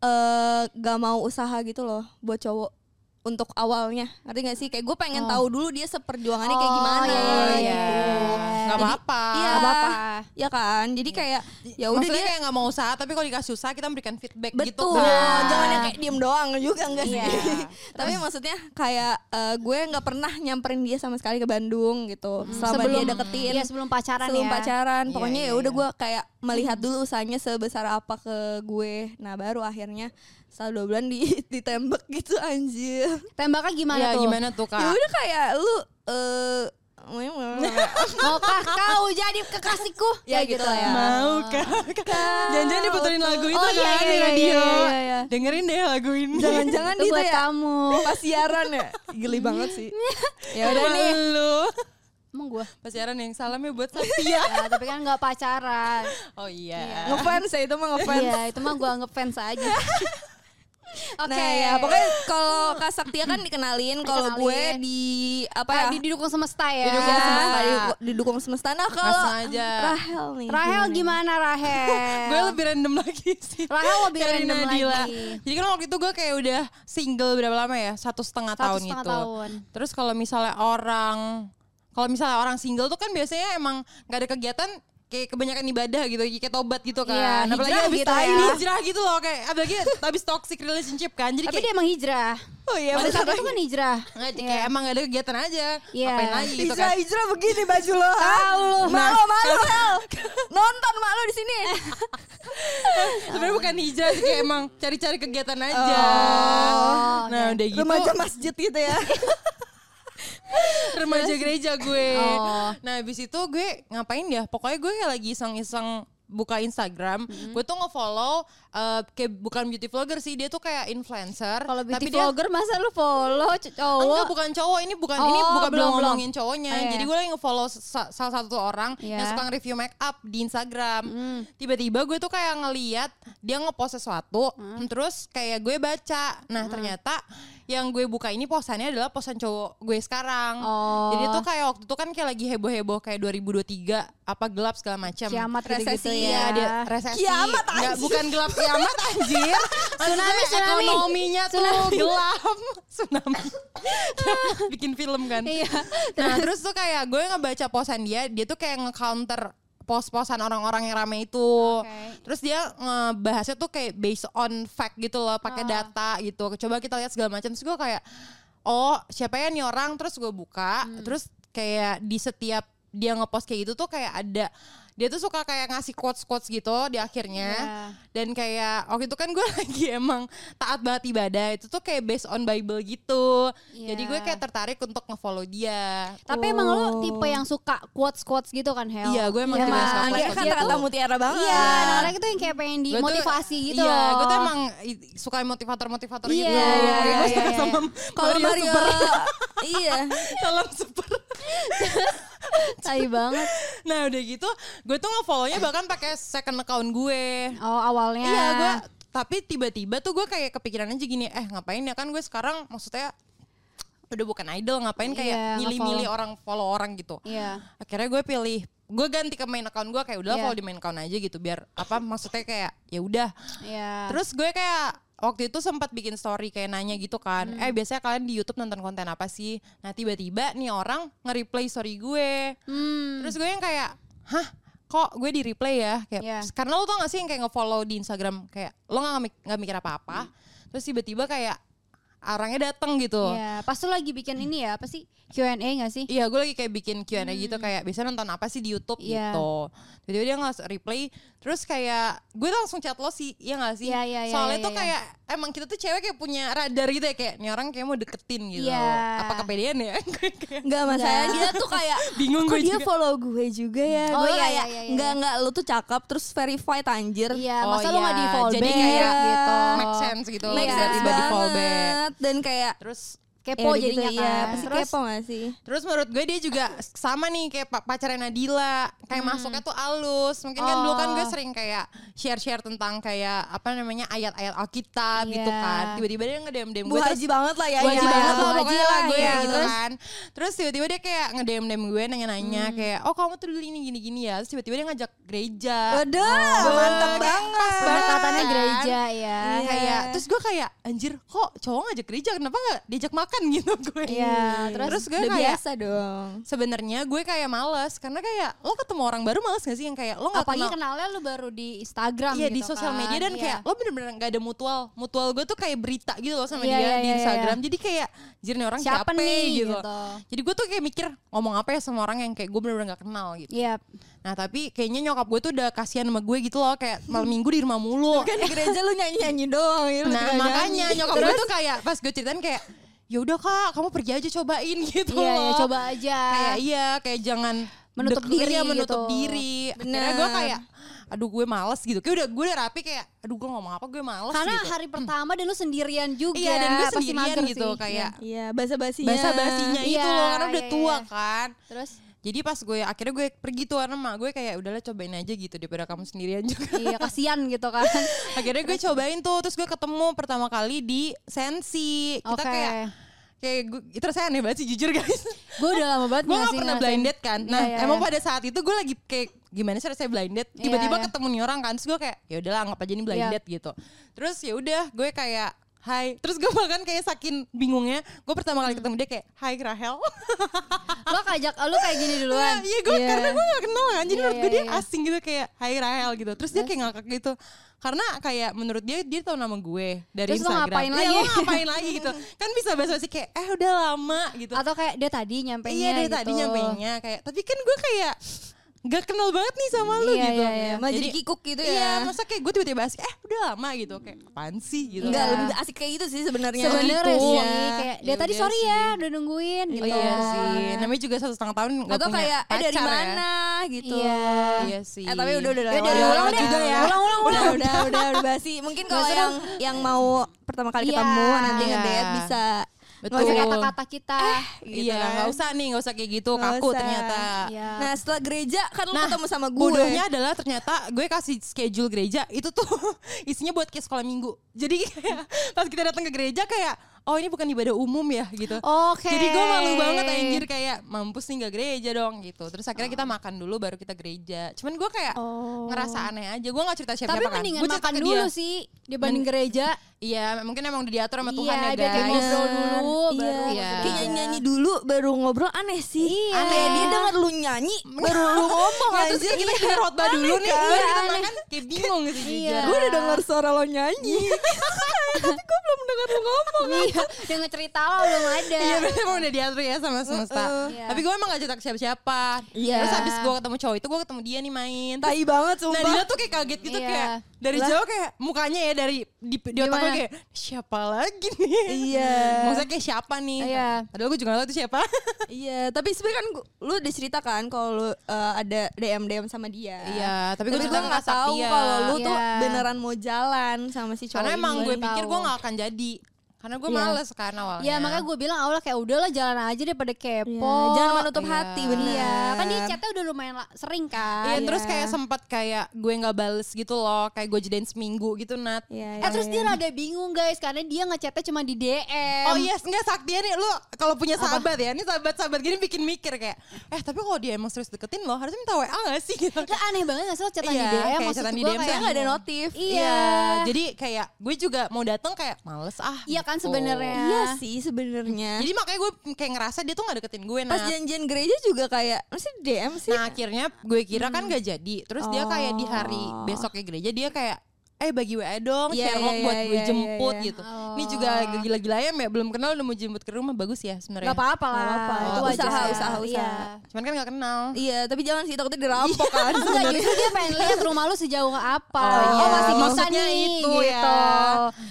Speaker 5: eh gak mau usaha gitu loh buat cowok untuk awalnya ngerti gak sih kayak gue pengen tahu dulu dia seperjuangannya kayak gimana
Speaker 3: Oh. iya. Nggak apa-apa.
Speaker 5: iya
Speaker 3: Nggak
Speaker 5: apa ya kan jadi
Speaker 3: Iya.
Speaker 5: kayak ya udah
Speaker 3: Maksudnya
Speaker 5: dia
Speaker 3: kayak nggak mau usaha tapi kalau dikasih usaha kita memberikan feedback gitu
Speaker 5: betul Iya,
Speaker 3: kan.
Speaker 5: jangan yang kayak diem doang juga enggak sih
Speaker 4: Iya.
Speaker 5: tapi maksudnya kayak eh, gue nggak pernah nyamperin dia sama sekali ke Bandung gitu
Speaker 3: Hmm.
Speaker 5: selama
Speaker 6: sebelum-
Speaker 5: dia deketin
Speaker 6: Iya sebelum pacaran
Speaker 5: sebelum
Speaker 6: ya.
Speaker 5: pacaran pokoknya
Speaker 3: iya,
Speaker 5: ya udah
Speaker 3: iya.
Speaker 5: gue kayak melihat
Speaker 6: Hmm.
Speaker 5: dulu usahanya sebesar apa ke gue nah baru akhirnya setelah dua bulan di- ditembak gitu anjir
Speaker 6: Tembaknya gimana
Speaker 3: Ya
Speaker 6: tuh?
Speaker 3: gimana tuh
Speaker 5: ya
Speaker 3: kak?
Speaker 5: udah kayak lu eh
Speaker 6: Maukah kau jadi kekasihku?
Speaker 5: Ya gitu lah ya.
Speaker 3: Mau kak? Jangan-jangan diputerin lagu itu
Speaker 6: Oh,
Speaker 3: kan
Speaker 6: iya,
Speaker 3: di
Speaker 6: iya, iya,
Speaker 3: radio.
Speaker 6: iya, iya.
Speaker 3: Dengerin deh lagu ini.
Speaker 5: jangan-jangan
Speaker 6: Itu
Speaker 5: gitu
Speaker 6: buat
Speaker 5: ya
Speaker 6: kamu.
Speaker 5: pas siaran ya geli banget sih ya udah nih
Speaker 3: Malu.
Speaker 6: Emang gue?
Speaker 3: Pasiaran yang salam ya buat Satya.
Speaker 6: Ya, tapi kan gak pacaran.
Speaker 3: Oh iya.
Speaker 5: ngefans ya itu mah ngefans
Speaker 6: Iya, itu mah gue anggap fans aja. Oke.
Speaker 5: Nah
Speaker 3: iya,
Speaker 5: ya pokoknya kalau Kak Saktia kan dikenalin kalau gue
Speaker 6: Dikenalin.
Speaker 5: di apa ya?
Speaker 6: Ah, di- didukung semesta ya.
Speaker 5: didukung semesta,
Speaker 3: iya.
Speaker 5: didu- didukung semesta. Nah kalau
Speaker 3: Langsung aja.
Speaker 5: Rahel nih.
Speaker 6: Rahel gimana Rahel?
Speaker 3: Gue lebih random lagi sih.
Speaker 6: Rahel lebih
Speaker 3: Dari
Speaker 6: random
Speaker 3: Nadila.
Speaker 6: lagi.
Speaker 3: Jadi kan waktu itu gue kayak udah single berapa lama ya? Satu setengah
Speaker 6: Satu
Speaker 3: tahun
Speaker 6: setengah
Speaker 3: itu.
Speaker 6: tahun.
Speaker 3: Terus kalau misalnya orang kalau misalnya orang single tuh kan biasanya emang nggak ada kegiatan kayak kebanyakan ibadah gitu, kayak tobat gitu kan.
Speaker 6: Iya,
Speaker 3: apalagi
Speaker 6: hijrah
Speaker 3: abis
Speaker 6: gitu
Speaker 3: tai,
Speaker 6: ya.
Speaker 3: hijrah gitu loh kayak apalagi abis toxic relationship kan. Jadi
Speaker 6: Tapi
Speaker 3: kayak Ya,
Speaker 6: dia emang hijrah.
Speaker 5: Oh iya
Speaker 6: Pada
Speaker 5: benar.
Speaker 6: saat itu kan hijrah.
Speaker 3: Nggak, jadi kayak emang gak ada kegiatan aja.
Speaker 6: Iya.
Speaker 3: Ngapain lagi gitu kan.
Speaker 5: Hijrah hijrah begini baju lo. Tahu lo. Malu malu Hel. Nonton malu di sini.
Speaker 6: Eh,
Speaker 3: Sebenarnya bukan hijrah sih kayak emang cari-cari kegiatan aja.
Speaker 6: Oh,
Speaker 3: nah, udah gitu
Speaker 5: Remaja masjid gitu ya.
Speaker 3: remaja gereja gue.
Speaker 6: Oh.
Speaker 3: Nah, habis itu gue ngapain ya? Pokoknya gue kayak lagi iseng-iseng buka Instagram,
Speaker 6: Mm-hmm.
Speaker 3: gue tuh ngefollow eh, kayak bukan beauty vlogger sih, dia tuh kayak influencer.
Speaker 6: Kalau beauty
Speaker 3: dia-
Speaker 6: vlogger masa lu follow c-
Speaker 3: Enggak
Speaker 6: cowok?
Speaker 3: bukan cowok ini bukan
Speaker 6: Oh,
Speaker 3: ini bukan belum,
Speaker 6: belum, belum.
Speaker 3: ngomongin cowoknya.
Speaker 6: Oh, iya.
Speaker 3: Jadi gue lagi ngefollow sa- salah satu orang yang
Speaker 6: Iya. Hmm.
Speaker 3: suka nge-review make up di Instagram. Tiba-tiba gue tuh kayak ngeliat dia ngepost sesuatu,
Speaker 6: Hmm.
Speaker 3: terus kayak gue baca. Nah, ternyata yang gue buka ini posannya adalah posan cowok gue sekarang.
Speaker 6: Oh.
Speaker 3: Jadi tuh kayak waktu itu kan kayak lagi heboh-heboh kayak 2023 apa gelap segala macam.
Speaker 6: Kiamat
Speaker 3: resesi
Speaker 6: gitu-gitu
Speaker 3: ya,
Speaker 6: ya.
Speaker 3: dia resesi.
Speaker 5: Kiamat,
Speaker 3: Nggak,
Speaker 5: anjir.
Speaker 3: bukan gelap kiamat anjir. Maksudnya
Speaker 6: tsunami.
Speaker 3: Ekonominya tuh
Speaker 6: Tsunami.
Speaker 3: gelap tsunami bikin film kan
Speaker 6: Iya.
Speaker 3: nah terus tuh kayak gue ngebaca posan dia dia tuh kayak nge-counter pos-posan orang-orang yang rame itu
Speaker 6: Oke.
Speaker 3: terus dia ngebahasnya tuh kayak based on fact gitu loh pakai data gitu coba kita lihat segala macam terus gue kayak oh siapa ya nih orang terus gue buka terus kayak di setiap dia ngepost kayak gitu tuh kayak ada dia tuh suka kayak ngasih quotes quotes gitu di akhirnya
Speaker 6: Iya.
Speaker 3: dan kayak waktu itu kan gue lagi emang taat banget ibadah itu tuh kayak based on Bible gitu
Speaker 6: Iya.
Speaker 3: jadi gue kayak tertarik untuk ngefollow dia
Speaker 6: Tapi emang lu tipe yang suka quotes-quotes gitu kan, Hel?
Speaker 3: Oh. Iya, gue emang tipe yang suka
Speaker 6: kan?
Speaker 5: Dia
Speaker 3: quotes-quotes
Speaker 5: kan
Speaker 6: Dia tuh-
Speaker 5: rata mutiara banget.
Speaker 6: Iya, anak-anak itu yang kayak pengen
Speaker 3: Gue tuh-
Speaker 6: dimotivasi gitu.
Speaker 3: Iya,
Speaker 6: loh.
Speaker 3: gue tuh emang i- suka motivator-motivator
Speaker 6: Iya,
Speaker 3: gitu.
Speaker 6: iya,
Speaker 3: Kayak gue
Speaker 6: iya,
Speaker 3: suka
Speaker 6: iya.
Speaker 3: sama
Speaker 5: Kalau
Speaker 3: Mario
Speaker 5: Mario
Speaker 3: Super.
Speaker 5: iya.
Speaker 3: Salam super.
Speaker 6: Tai banget.
Speaker 3: Nah, udah gitu, gue tuh ngefollownya bahkan pakai second account gue.
Speaker 6: Oh, awalnya.
Speaker 3: Iya, gue tapi tiba-tiba tuh gue kayak kepikiran aja gini, eh ngapain ya kan gue sekarang maksudnya udah bukan idol ngapain kayak
Speaker 6: Iya,
Speaker 3: milih-milih
Speaker 6: ngefollow.
Speaker 3: orang follow orang gitu.
Speaker 6: Iya.
Speaker 3: akhirnya gue pilih gue ganti ke main account gue kayak udah
Speaker 6: Iya.
Speaker 3: follow di main account aja gitu biar apa maksudnya kayak ya udah
Speaker 6: Iya.
Speaker 3: terus gue kayak waktu itu sempat bikin story kayak nanya gitu kan
Speaker 6: Hmm.
Speaker 3: eh biasanya kalian di YouTube nonton konten apa sih nah tiba-tiba nih orang nge-replay story gue
Speaker 6: Hmm.
Speaker 3: terus gue yang kayak hah kok gue di replay ya kayak
Speaker 6: Iya.
Speaker 3: karena lo tau gak sih yang kayak nge-follow di Instagram kayak lo nggak mik- nggak mikir apa-apa
Speaker 6: Hmm.
Speaker 3: terus tiba-tiba kayak orangnya dateng gitu
Speaker 6: Iya, pas lu lagi bikin ini ya, apa sih? Q&A gak sih?
Speaker 3: Iya, gue lagi kayak bikin Q&A gitu kayak biasanya nonton apa sih di YouTube
Speaker 6: Hmm. Iya.
Speaker 3: gitu. Jadi dia nggak replay, terus kayak gue langsung chat lo sih, ya nggak sih?
Speaker 6: Iya, iya, iya,
Speaker 3: Soalnya
Speaker 6: iya,
Speaker 3: tuh
Speaker 6: iya.
Speaker 3: kayak emang kita tuh cewek kayak punya radar gitu ya kayak nih orang kayak mau deketin gitu.
Speaker 6: Iya.
Speaker 3: Apa kepedean ya? Gue kayak
Speaker 5: Enggak masalah dia tuh kayak
Speaker 3: Bingung
Speaker 5: kok
Speaker 3: gue
Speaker 5: dia
Speaker 3: juga.
Speaker 5: follow gue juga ya.
Speaker 6: Oh,
Speaker 5: gue
Speaker 6: iya,
Speaker 5: kayak
Speaker 6: iya, iya, iya.
Speaker 5: enggak enggak lu tuh cakep terus verified anjir.
Speaker 6: Iya,
Speaker 3: Oh,
Speaker 6: masa lu
Speaker 3: iya.
Speaker 6: gak di follow
Speaker 3: Jadi
Speaker 6: back
Speaker 3: kayak
Speaker 6: gitu.
Speaker 3: make sense gitu
Speaker 6: Make
Speaker 5: Make
Speaker 6: Iya.
Speaker 5: sense
Speaker 3: tiba-tiba di follow back.
Speaker 5: banget. Dan kayak
Speaker 3: Terus
Speaker 6: kepo
Speaker 5: Ya,
Speaker 6: jadinya
Speaker 5: gitu,
Speaker 6: kan.
Speaker 5: iya. Pasti
Speaker 6: Terus
Speaker 5: kepo gak sih?
Speaker 3: Terus menurut gue dia juga sama nih kayak pa- pacarnya Nadila, kayak
Speaker 5: Hmm.
Speaker 3: masuknya tuh alus. Mungkin kan dulu kan
Speaker 5: Oh.
Speaker 3: gue sering kayak share-share tentang kayak apa namanya ayat-ayat Alkitab gitu
Speaker 6: Iya.
Speaker 3: kan. Tiba-tiba dia ngedem dem
Speaker 5: Bu
Speaker 3: gue terus
Speaker 5: Haji banget lah ya.
Speaker 3: Bu Haji
Speaker 5: ya.
Speaker 3: banget
Speaker 6: Bu
Speaker 3: lah,
Speaker 6: Haji
Speaker 3: pokoknya
Speaker 6: lah,
Speaker 3: lah gue
Speaker 6: iya.
Speaker 3: gitu
Speaker 6: Terus?
Speaker 3: kan. Terus tiba-tiba dia kayak ngedem-dem gue nanya-nanya
Speaker 5: Hmm.
Speaker 3: kayak, oh kamu tuh dulu ini gini-gini ya. Terus tiba-tiba dia ngajak gereja.
Speaker 5: Waduh,
Speaker 3: Oh.
Speaker 5: mantep banget. Iya.
Speaker 6: pendekatannya
Speaker 3: kan?
Speaker 6: gereja ya.
Speaker 3: Nah, kayak terus gue kayak anjir kok cowok ngajak gereja kenapa nggak diajak makan gitu gue
Speaker 6: Iya, terus,
Speaker 3: terus gue
Speaker 5: Udah
Speaker 3: kayak
Speaker 5: biasa dong.
Speaker 3: sebenarnya gue kayak males karena kayak lo ketemu orang baru males gak sih yang kayak lo nggak
Speaker 6: apalagi
Speaker 3: Oh, kenal
Speaker 6: kenalnya lu baru di Instagram
Speaker 3: Iya
Speaker 6: gitu
Speaker 3: di sosial
Speaker 6: kan.
Speaker 3: media dan
Speaker 6: Iya.
Speaker 3: kayak lo bener-bener gak ada mutual Mutual gue tuh kayak berita gitu loh sama
Speaker 6: Iya,
Speaker 3: dia
Speaker 6: iya,
Speaker 3: di
Speaker 6: iya,
Speaker 3: Instagram Jadi kayak jir nih orang siapa,
Speaker 6: siapa nih
Speaker 3: gitu.
Speaker 6: gitu.
Speaker 3: Jadi gue tuh kayak mikir ngomong apa ya sama orang yang kayak gue bener-bener gak kenal gitu
Speaker 6: Iya.
Speaker 3: Nah tapi kayaknya nyokap gue tuh udah kasihan sama gue gitu loh Kayak malam minggu di rumah mulu
Speaker 5: Kan di
Speaker 6: gitu,
Speaker 5: gereja lu nyanyi-nyanyi doang. ya, lu
Speaker 3: Nah
Speaker 5: tinggal
Speaker 3: makanya
Speaker 5: nyanyi.
Speaker 3: nyokap gue tuh kayak pas gue ceritain kayak ya udah kak kamu pergi aja cobain gitu
Speaker 6: Iya,
Speaker 3: loh
Speaker 6: iya, coba aja.
Speaker 3: kayak iya kayak jangan
Speaker 6: Menutup
Speaker 3: deg-
Speaker 6: diri
Speaker 3: iya, menutup
Speaker 6: gitu.
Speaker 3: diri akhirnya gue kayak aduh gue males gitu kayak udah gue udah rapi kayak aduh gue ngomong apa gue males
Speaker 6: Karena
Speaker 3: gitu
Speaker 6: hari pertama dan lu sendirian juga.
Speaker 3: iya dan gue
Speaker 6: pasti
Speaker 3: sendirian
Speaker 6: mager
Speaker 3: gitu
Speaker 6: sih.
Speaker 3: kayak
Speaker 5: Iya, basa-basinya.
Speaker 3: bahasa basinya itu
Speaker 6: Iya,
Speaker 3: loh karena udah
Speaker 6: iya,
Speaker 3: tua
Speaker 6: iya.
Speaker 3: kan
Speaker 6: Terus
Speaker 3: jadi pas gue akhirnya gue pergi tuh karena emak gue kayak udahlah cobain aja gitu daripada kamu sendirian juga
Speaker 6: iya kasihan gitu kan.
Speaker 3: akhirnya gue cobain tuh terus gue ketemu pertama kali di sensi kita
Speaker 6: Oke.
Speaker 3: kayak kayak gue terus saya aneh banget sih jujur guys
Speaker 6: Gue udah lama banget
Speaker 3: gue
Speaker 6: nggak
Speaker 3: gak
Speaker 6: sih
Speaker 3: pernah
Speaker 6: ngerasain-
Speaker 3: blinded kan nah
Speaker 6: Iya, iya,
Speaker 3: emang
Speaker 6: iya.
Speaker 3: pada saat itu gue lagi kayak gimana sih rasanya blinded
Speaker 6: Iya,
Speaker 3: tiba-tiba
Speaker 6: iya.
Speaker 3: ketemu nih orang kan terus gue kayak ya udahlah anggap aja ini blinded gitu terus ya udah gue kayak Hai, terus gue bahkan kayak saking bingungnya, gue pertama
Speaker 6: Hmm.
Speaker 3: kali ketemu dia kayak Hai Rahel,
Speaker 6: Lo kajak lu kayak gini duluan.
Speaker 3: iya gue karena gue gak kenal kan, jadi menurut
Speaker 6: Iya,
Speaker 3: gue
Speaker 6: iya,
Speaker 3: dia
Speaker 6: iya.
Speaker 3: asing gitu kayak Hai Rahel gitu, terus dia kayak ngakak gitu, karena kayak menurut dia dia tahu nama gue dari
Speaker 6: Terus lo
Speaker 3: Instagram,
Speaker 6: ngapain
Speaker 3: Iya,
Speaker 6: lagi?
Speaker 3: lo ngapain lagi gitu, kan bisa bahasa sih kayak eh udah lama gitu,
Speaker 6: Atau kayak dia tadi nyampeinnya
Speaker 3: Iya dari
Speaker 6: gitu.
Speaker 3: tadi nyampeinnya kayak tapi kan gue kayak gak kenal banget nih sama lu
Speaker 6: Iya,
Speaker 3: gitu.
Speaker 6: iya, iya.
Speaker 5: Malah jadi kikuk gitu ya.
Speaker 3: Iya, masa kayak gue tiba-tiba asik, eh udah lama gitu kayak apaan sih gitu.
Speaker 5: Enggak,
Speaker 6: Iya.
Speaker 5: lebih asik kayak gitu sih sebenarnya.
Speaker 6: Sebenarnya
Speaker 5: Gitu.
Speaker 6: sih
Speaker 5: Iya.
Speaker 6: kayak dia tadi
Speaker 5: Iya
Speaker 6: sorry
Speaker 5: sih.
Speaker 6: ya udah nungguin gitu.
Speaker 3: Iya sih, namanya juga satu setengah tahun gak
Speaker 5: Atau
Speaker 3: punya
Speaker 5: kayak eh dari
Speaker 3: pacar ya.
Speaker 5: mana gitu.
Speaker 6: Iya.
Speaker 3: Iya sih.
Speaker 5: Eh tapi udah udah
Speaker 6: Ya, udah,
Speaker 5: lewat
Speaker 6: ulang deh.
Speaker 5: juga ya.
Speaker 6: Ulang, ulang,
Speaker 5: udah udah udah udah basi. Mungkin kalau
Speaker 6: Udah,
Speaker 5: yang yang mau pertama kali
Speaker 6: Iya.
Speaker 5: ketemu nanti
Speaker 3: Iya.
Speaker 5: ngedate bisa
Speaker 3: Betul.
Speaker 6: Gak usah kata-kata kita.
Speaker 5: gitu
Speaker 3: iya,
Speaker 5: kan.
Speaker 3: gak usah nih, gak usah kayak gitu,
Speaker 5: Nggak
Speaker 3: kaku
Speaker 5: usah.
Speaker 3: ternyata.
Speaker 6: Iya.
Speaker 5: Nah setelah gereja kan lu
Speaker 3: Nah,
Speaker 5: ketemu sama gue
Speaker 3: Bodohnya adalah ternyata gue kasih schedule gereja itu tuh isinya buat kayak sekolah minggu. Jadi kayak pas kita datang ke gereja kayak oh ini bukan ibadah umum ya gitu.
Speaker 6: Oke.
Speaker 3: Jadi gue malu banget anjir kayak mampus nih gak gereja dong gitu. Terus akhirnya
Speaker 6: Oh.
Speaker 3: kita makan dulu baru kita gereja. Cuman gue kayak ngerasa aneh aja. Gue gak cerita siapa-siapa
Speaker 6: Tapi
Speaker 3: kan.
Speaker 6: mendingan
Speaker 3: Gue cerita
Speaker 6: makan
Speaker 3: ke
Speaker 6: dulu
Speaker 3: dia.
Speaker 6: sih dibanding gereja.
Speaker 3: Iya mungkin emang udah diatur sama Tuhan
Speaker 6: iya,
Speaker 3: ya
Speaker 6: biar kayak
Speaker 3: guys.
Speaker 6: ngobrol dulu baru.
Speaker 3: Iya.
Speaker 5: Kayak nyanyi-nyanyi dulu baru ngobrol aneh sih
Speaker 6: Iya.
Speaker 5: Kayak dia denger lu nyanyi baru lu ngomong
Speaker 3: Nah, terus
Speaker 5: anjir.
Speaker 3: kayak kita kita khotbah dulu nih.
Speaker 5: kan?
Speaker 3: Baru kita makan kayak bingung sih
Speaker 6: Iya.
Speaker 3: jujur.
Speaker 5: Gue udah denger suara lo nyanyi Tapi gue belum denger lu ngomong
Speaker 6: Iya, dengan cerita lo belum ada.
Speaker 3: Iya bener emang udah diatur ya sama semesta
Speaker 6: Iya.
Speaker 3: Tapi gue emang gak cerita ke siapa-siapa
Speaker 5: Iya.
Speaker 3: Terus habis gue ketemu cowok itu gue ketemu dia nih main Terus
Speaker 5: Tai banget sumpah
Speaker 3: Nadila tuh kayak kaget gitu
Speaker 6: Iya.
Speaker 3: kayak Dari jauh kayak mukanya ya dari di, di otak gue
Speaker 6: Gimana?
Speaker 3: kayak Siapa lagi nih
Speaker 5: Iya.
Speaker 3: Maksudnya kayak siapa nih
Speaker 6: Iya.
Speaker 3: Padahal gue juga gak tau itu siapa
Speaker 5: Iya, tapi sebenarnya kan gu- lu udah cerita kan kalau lu uh, ada DM DM sama dia.
Speaker 3: Iya, tapi gue
Speaker 5: Tapi gue
Speaker 3: juga
Speaker 5: nggak tahu kalau lu tuh
Speaker 6: Iya.
Speaker 5: beneran mau jalan sama si cowok.
Speaker 3: Karena emang
Speaker 5: ini.
Speaker 3: gue pikir
Speaker 6: tahu.
Speaker 3: gue gak akan jadi Karena
Speaker 5: Iya.
Speaker 3: gue males kan awalnya
Speaker 6: Ya makanya gue bilang awalnya kayak udahlah jalan aja deh pada kepo.
Speaker 5: Iya, jangan menutup hati, bener.
Speaker 6: Iya, kan dia chatnya udah lumayan la- sering
Speaker 3: Iya,
Speaker 6: kan.
Speaker 3: terus kayak sempat kayak gue nggak bales gitu loh, kayak gue jadiin seminggu gitu Nat.
Speaker 5: Iya,
Speaker 6: Eh terus dia rada bingung guys karena dia ngechatnya cuma di DM.
Speaker 3: Oh yes, enggak sakti nih lu kalau punya sahabat ya, ini sahabat-sahabat gini bikin mikir kayak, eh tapi kalau dia emang serius deketin lo harusnya minta WA gak sih gitu.
Speaker 6: Lah, aneh banget gak sih lo chatan
Speaker 3: Iya,
Speaker 6: di DM
Speaker 3: kayak
Speaker 6: maksud
Speaker 3: chatan di DM,
Speaker 6: gue kayak
Speaker 3: soalnya nggak ada
Speaker 6: notif. Iya.
Speaker 3: Iya, jadi kayak gue juga mau datang kayak males ah.
Speaker 6: Iya kan
Speaker 3: gitu.
Speaker 6: sebenarnya.
Speaker 5: Iya sih sebenarnya.
Speaker 3: Jadi makanya gue kayak ngerasa dia tuh gak deketin gue
Speaker 5: Pas
Speaker 3: Nat.
Speaker 5: janjian gereja juga kayak masih DM sih.
Speaker 3: Nah akhirnya gue kira kan gak jadi Terus dia kayak di hari besoknya gereja Dia kayak Eh bagi WA dong
Speaker 5: Iya,
Speaker 3: share
Speaker 5: iya,
Speaker 3: log buat
Speaker 5: iya,
Speaker 3: gue
Speaker 5: iya,
Speaker 3: jemput
Speaker 5: iya.
Speaker 3: gitu Ini juga gila-gila ya Mbak Belum kenal udah mau jemput ke rumah Bagus ya
Speaker 6: Gak
Speaker 3: sebenarnya
Speaker 6: apa-apa lah.
Speaker 5: apa-apa.
Speaker 6: Itu wajar.
Speaker 5: Usaha, usaha, usaha.
Speaker 6: Iya.
Speaker 3: Cuman kan gak kenal
Speaker 5: Iya, tapi jangan sih takutnya dirampok kan.
Speaker 6: Enggak justru dia pengen lihat rumah lu sejauh apa.
Speaker 3: Oh, iya.
Speaker 6: masih bisa
Speaker 3: Maksudnya
Speaker 6: nih
Speaker 3: itu ya.
Speaker 5: iya.
Speaker 6: gitu.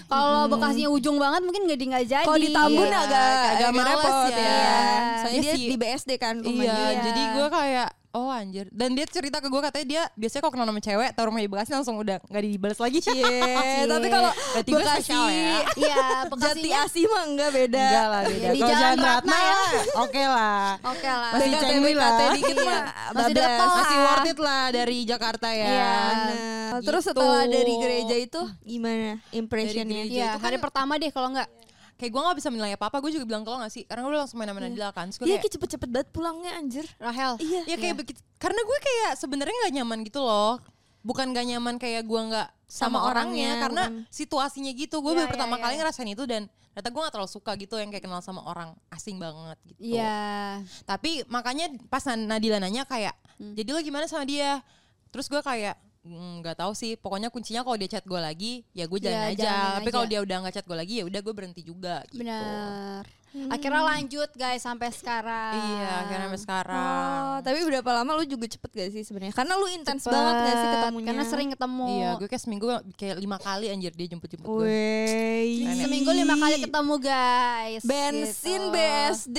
Speaker 6: Kalau bekasnya ujung banget mungkin gak di nggak jadi.
Speaker 5: Kalau di Tambun
Speaker 6: Iya.
Speaker 5: agak
Speaker 3: agak
Speaker 5: agak
Speaker 3: males
Speaker 5: repot
Speaker 3: ya.
Speaker 5: ya.
Speaker 3: Iya.
Speaker 5: Soalnya
Speaker 3: Iya
Speaker 5: dia
Speaker 3: sih.
Speaker 5: di BSD kan
Speaker 3: Iya
Speaker 5: rumahnya.
Speaker 3: jadi gue kayak oh anjir dan dia cerita ke gue katanya dia biasanya kalau kenal sama cewek taruh rumah di Bekasi langsung udah nggak dibales lagi sih
Speaker 5: tapi kalau
Speaker 3: Iya, Berarti gue
Speaker 5: Bekasi,
Speaker 3: spesial ya.
Speaker 6: Iya,
Speaker 5: Jati
Speaker 6: Bekasinya
Speaker 5: Asih mah enggak beda.
Speaker 3: enggak lah beda
Speaker 6: Di
Speaker 3: kalau
Speaker 6: Jalan
Speaker 3: jalan Ratna
Speaker 6: Ratna
Speaker 3: ya oke lah
Speaker 6: Oke lah Iya.
Speaker 3: Masih
Speaker 5: BKT,
Speaker 3: cengli lah.
Speaker 5: BKT dikit mah.
Speaker 6: Masih
Speaker 5: bablas.
Speaker 6: deket tol lah.
Speaker 3: masih worth it lah dari Jakarta ya
Speaker 6: Iya.
Speaker 5: Nah,
Speaker 3: Gitu.
Speaker 5: Terus setelah dari gereja itu gimana impressionnya?
Speaker 6: Iya,
Speaker 3: kan
Speaker 6: hari pertama deh kalau enggak
Speaker 3: kayak gue nggak bisa menilai apa apa gue juga bilang kalau nggak sih karena gue langsung main-main Nadila kan Terus gua
Speaker 5: Dia
Speaker 3: kayak-
Speaker 5: kayak Iya, cepet-cepet banget pulangnya anjir.
Speaker 6: Rahel.
Speaker 5: Iya.
Speaker 3: Ya kayak begitu. Karena gue kayak sebenarnya nggak nyaman gitu loh. Bukan gak nyaman kayak gue nggak sama,
Speaker 5: Sama
Speaker 3: orangnya,
Speaker 5: orangnya,
Speaker 3: karena
Speaker 5: bukan.
Speaker 3: situasinya gitu. Gue
Speaker 6: Iya,
Speaker 3: baru pertama
Speaker 6: iya,
Speaker 3: kali
Speaker 6: iya.
Speaker 3: ngerasain itu dan ternyata gue gak terlalu suka gitu yang kayak kenal sama orang asing banget gitu.
Speaker 6: Iya.
Speaker 3: Tapi makanya pas Nan- Nadila nanya kayak, jadi lo gimana sama dia? Terus gue kayak "Mm, nggak tahu sih pokoknya kuncinya kalau dia chat gue lagi ya gue jalan
Speaker 6: Iya,
Speaker 3: aja
Speaker 6: jalanin
Speaker 3: tapi kalau
Speaker 6: aja.
Speaker 3: dia udah nggak chat gue lagi ya udah gue berhenti juga gitu
Speaker 6: Benar.
Speaker 5: Hmm.
Speaker 6: Akhirnya lanjut guys sampai sekarang.
Speaker 3: iya karena sampai sekarang
Speaker 5: Oh, tapi berapa lama lu juga cepet gak sih sebenarnya? Karena lu intens
Speaker 6: Cepet,
Speaker 5: banget gak sih ketemunya?
Speaker 6: Karena sering ketemu.
Speaker 3: iya gue kayak seminggu kayak lima kali anjir dia jemput jemput gue
Speaker 5: Wey.
Speaker 6: Seminggu lima kali ketemu guys.
Speaker 5: Bensin
Speaker 6: Gitu.
Speaker 5: BSD